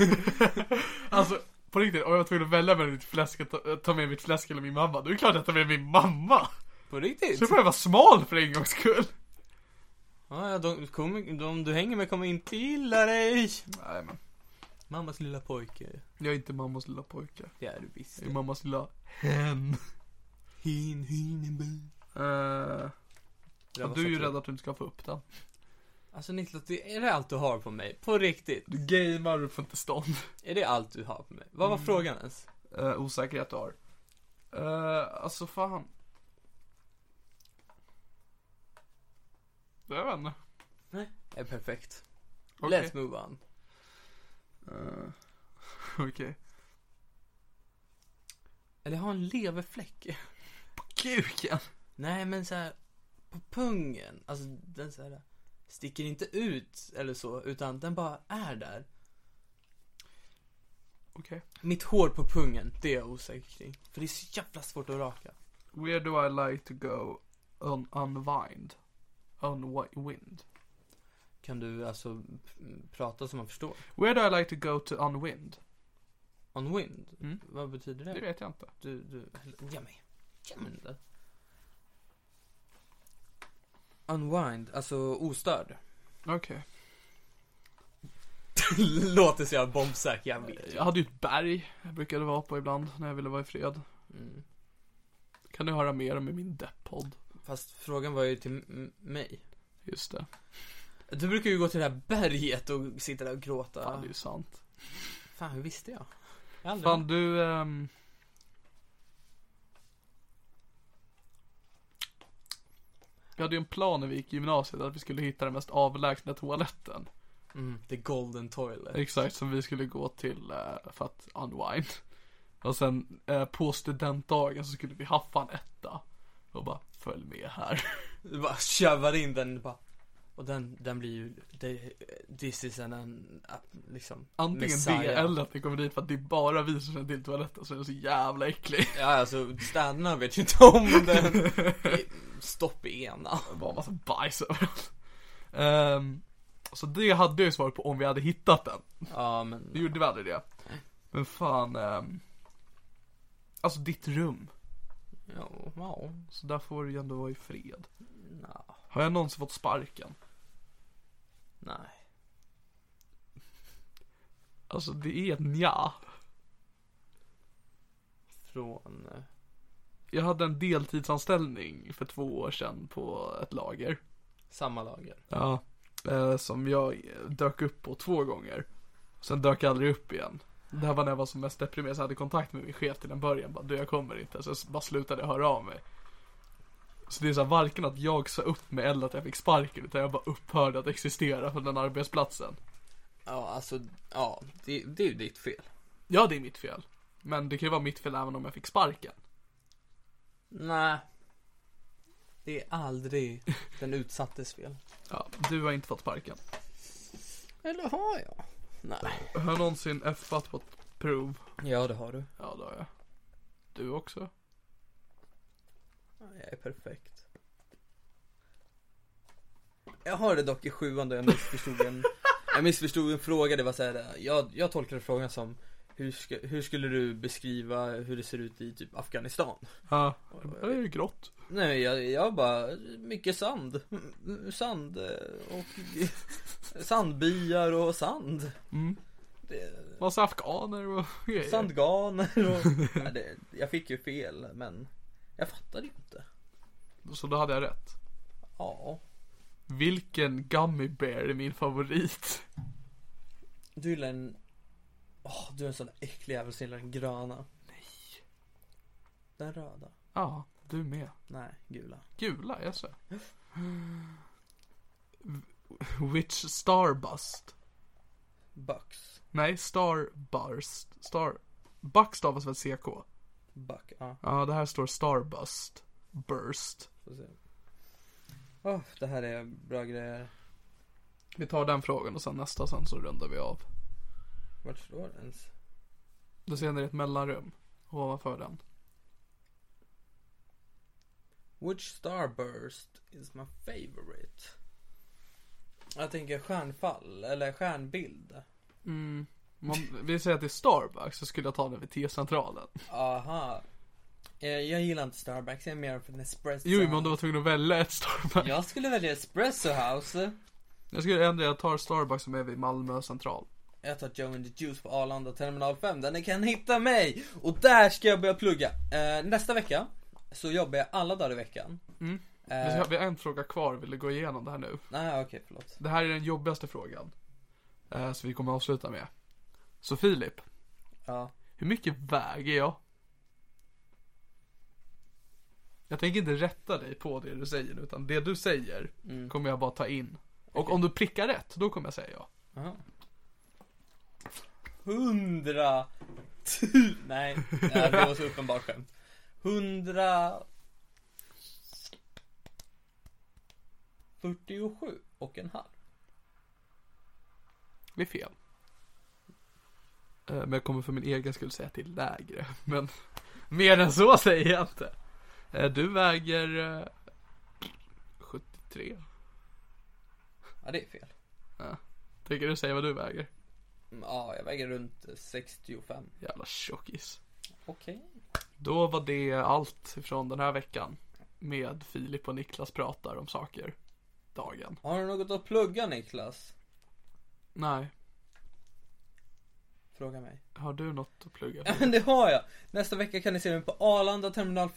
[SPEAKER 3] Alltså på riktigt, om jag var tvungen att välja mellan mitt fläsk, att ta- ta med mitt fläsk eller min mamma, då är det klart att jag tar med min mamma!
[SPEAKER 4] På riktigt?
[SPEAKER 3] Så får jag vara smal för en gångs skull!
[SPEAKER 4] Ja, ja, de, kommer, de du hänger med kommer inte gilla dig.
[SPEAKER 3] Nej men.
[SPEAKER 4] Mammas lilla pojke.
[SPEAKER 3] Jag är inte mammas lilla pojke.
[SPEAKER 4] Det är du visst.
[SPEAKER 3] Jag är mammas lilla hen.
[SPEAKER 4] Hin, hin,
[SPEAKER 3] Eh, och du är ju rädd att du inte ska få upp den.
[SPEAKER 4] Alltså Niklas, det är det allt du har på mig? På riktigt?
[SPEAKER 3] Du gamear och får inte stånd.
[SPEAKER 4] Är det allt du har på mig? Vad var
[SPEAKER 3] Mm.
[SPEAKER 4] frågan ens?
[SPEAKER 3] Eh, osäkerhet du har. Eh, alltså fan. Jag vet inte.
[SPEAKER 4] Är perfekt.
[SPEAKER 3] Okej.
[SPEAKER 4] Let's move on.
[SPEAKER 3] Eh, <laughs> Okej.
[SPEAKER 4] Eller jag har en leverfläck.
[SPEAKER 3] Kuken.
[SPEAKER 4] Nej men så här på pungen, alltså den så här sticker inte ut eller så, utan den bara är där.
[SPEAKER 3] Okej.
[SPEAKER 4] Mitt hår på pungen, det är jag osäker kring. För det är så jävla svårt att raka.
[SPEAKER 3] Where do I like to go un unwind? Unwind.
[SPEAKER 4] Kan du alltså mm, prata så man förstår?
[SPEAKER 3] Where do I like to go to unwind?
[SPEAKER 4] On wind?
[SPEAKER 3] Mm.
[SPEAKER 4] Vad betyder
[SPEAKER 3] Det
[SPEAKER 4] det?
[SPEAKER 3] vet jag inte.
[SPEAKER 4] Du, du, ge mig. Ge mig det. Unwind, alltså ostörd. <laughs>
[SPEAKER 3] Okej.
[SPEAKER 4] Låter så jag bombsäker, jag vet.
[SPEAKER 3] Jag hade ju ett berg jag brukade vara på ibland när jag ville vara i fred.
[SPEAKER 4] Mm.
[SPEAKER 3] Kan du höra mer om i min depp-podd?
[SPEAKER 4] Fast frågan var ju till m- mig.
[SPEAKER 3] Just det.
[SPEAKER 4] Du brukar ju gå till det här berget och sitta där och gråta.
[SPEAKER 3] Fan, det är ju sant.
[SPEAKER 4] Fan, hur visste jag? jag har aldrig-
[SPEAKER 3] Fan, du... ehm, Vi hade ju en plan när vi gick i gymnasiet att vi skulle hitta den mest avlägsna toaletten.
[SPEAKER 4] Mm, the golden toilet.
[SPEAKER 3] Exakt, som vi skulle gå till eh, för att unwind. Och sen eh, på studentdagen så skulle vi haffa en etta. Och bara, följ med här. <laughs>
[SPEAKER 4] Du bara tjövar in den bara. Och den, den blir ju, det, this is an, an a- liksom
[SPEAKER 3] Antingen det
[SPEAKER 4] Messiah.
[SPEAKER 3] eller att vi kommer dit för att det är bara vi som känner till toaletten så den är så jävla äcklig.
[SPEAKER 4] Ja alltså städerna vet ju inte om den. Stopp i ena.
[SPEAKER 3] <laughs> Det var en massa bajs överallt. Ehm, så det hade jag ju svarat på om vi hade hittat den.
[SPEAKER 4] Ja
[SPEAKER 3] Vi
[SPEAKER 4] men,
[SPEAKER 3] gjorde väl aldrig det. Men fan. ehm, alltså ditt rum.
[SPEAKER 4] ja, ja,
[SPEAKER 3] Så där får du ju ändå vara i fred.
[SPEAKER 4] nja,
[SPEAKER 3] Har jag någonsin fått sparken?
[SPEAKER 4] nej.
[SPEAKER 3] Alltså det är ett nja.
[SPEAKER 4] Från, eh,
[SPEAKER 3] Jag hade en deltidsanställning för två år sedan på ett lager.
[SPEAKER 4] samma lager.
[SPEAKER 3] Ja. Eh, som jag eh, dök upp på två gånger. Sen dök jag aldrig upp igen. Det här var när jag var som mest deprimerad så jag hade kontakt med min chef till en början. Bara, du jag kommer inte. Så jag s- bara slutade höra av mig. Så det är så här, varken att jag sa upp mig eller att jag fick sparken. Utan jag bara upphörde att existera på den arbetsplatsen.
[SPEAKER 4] Ja alltså, ja, det, det är ju ditt fel.
[SPEAKER 3] Ja, det är mitt fel. Men det kan ju vara mitt fel även om jag fick sparken.
[SPEAKER 4] Nej. Det är aldrig den utsattes fel.
[SPEAKER 3] Ja, du har inte fått sparken.
[SPEAKER 4] Eller har jag? Nej.
[SPEAKER 3] Har jag någonsin effat på ett prov?
[SPEAKER 4] Ja, det har du.
[SPEAKER 3] Ja, det har jag. Du också?
[SPEAKER 4] Jag är perfekt. Jag har det dock i sjuan då jag missförstod en, jag missförstod en fråga. Det var så här, jag, jag tolkade frågan som hur, ska, hur skulle du beskriva hur det ser ut i typ Afghanistan?
[SPEAKER 3] Ja. Det är ju grått.
[SPEAKER 4] Nej, jag, jag bara, mycket sand. Sand eh, och <laughs> sandbyar och sand.
[SPEAKER 3] Mm.
[SPEAKER 4] Det,
[SPEAKER 3] Massa afghaner och <laughs> grejer.
[SPEAKER 4] Sandganer och... Nej, det, jag fick ju fel men jag fattade ju inte.
[SPEAKER 3] Så då hade jag rätt.
[SPEAKER 4] Ja.
[SPEAKER 3] Vilken gummy bear är min favorit?
[SPEAKER 4] Du gillar en... Åh, du är en sån där äcklig jävel som gillar den gröna. Nej. Den röda.
[SPEAKER 3] Ja, du med.
[SPEAKER 4] Nej, gula.
[SPEAKER 3] Gula, jag ser. Which starbust?
[SPEAKER 4] Bucks.
[SPEAKER 3] Nej, starburst. Star... Buck stavas väl CK?
[SPEAKER 4] Buck, ja.
[SPEAKER 3] Ja, det här står starbust. Burst.
[SPEAKER 4] Får se. Åh, det här är bra grejer.
[SPEAKER 3] Vi tar den frågan och sen nästa sen så rundar vi av.
[SPEAKER 4] Vart står det ens?
[SPEAKER 3] Då ser ni ett mellanrum ovanför den.
[SPEAKER 4] Which starburst is my favorite? Jag tänker stjärnfall, eller stjärnbild.
[SPEAKER 3] Mm. Om vi säger att det är Starbucks så skulle jag ta den vid T-centralen.
[SPEAKER 4] Aha. Jag, jag gillar inte Starbucks, jag är mer för Nespresso.
[SPEAKER 3] Jo, men om du var tvungen att välja ett Starbucks.
[SPEAKER 4] Jag skulle välja Espresso House.
[SPEAKER 3] Jag skulle ändra, jag tar Starbucks som är vid Malmö central.
[SPEAKER 4] Eh, Jag tar Joe and the Juice på Arlanda terminal 5 där ni kan hitta mig! Och där ska jag börja plugga! Eh, nästa vecka så jobbar jag alla dagar i veckan.
[SPEAKER 3] Mm. Men så
[SPEAKER 4] Eh,
[SPEAKER 3] har vi en fråga kvar, vill du gå igenom det här nu?
[SPEAKER 4] nej okej förlåt.
[SPEAKER 3] Det här är den jobbigaste frågan. Eh, så vi kommer avsluta med. Så Filip,
[SPEAKER 4] Ja.
[SPEAKER 3] hur mycket väger jag? Jag tänker inte rätta dig på det du säger, utan det du säger kommer jag bara ta in. Och om du prickar rätt, då kommer jag säga ja.
[SPEAKER 4] Aha. Hundra tu- <laughs> Nej, nej, det var så uppenbart skämt. Hundra... 47 och en halv.
[SPEAKER 3] Det är fel. Eh, Men jag kommer för min egen skull säga att det är lägre. <laughs> Men mer än så säger jag inte. Eh, Du väger eh, 73.
[SPEAKER 4] Ja det är fel. Mm,
[SPEAKER 3] Tänker du säga vad du väger?
[SPEAKER 4] Ja, jag väger runt 65.
[SPEAKER 3] Jävla tjockis.
[SPEAKER 4] Okej.
[SPEAKER 3] Då var det allt från den här veckan. Med Filip och Niklas pratar om saker. Dagen.
[SPEAKER 4] Har du något att plugga Niklas?
[SPEAKER 3] Nej,
[SPEAKER 4] Fråga mig.
[SPEAKER 3] har du något att plugga?
[SPEAKER 4] <laughs> Ja,
[SPEAKER 3] för?
[SPEAKER 4] men det har jag! Nästa vecka kan ni se mig på Arlanda terminal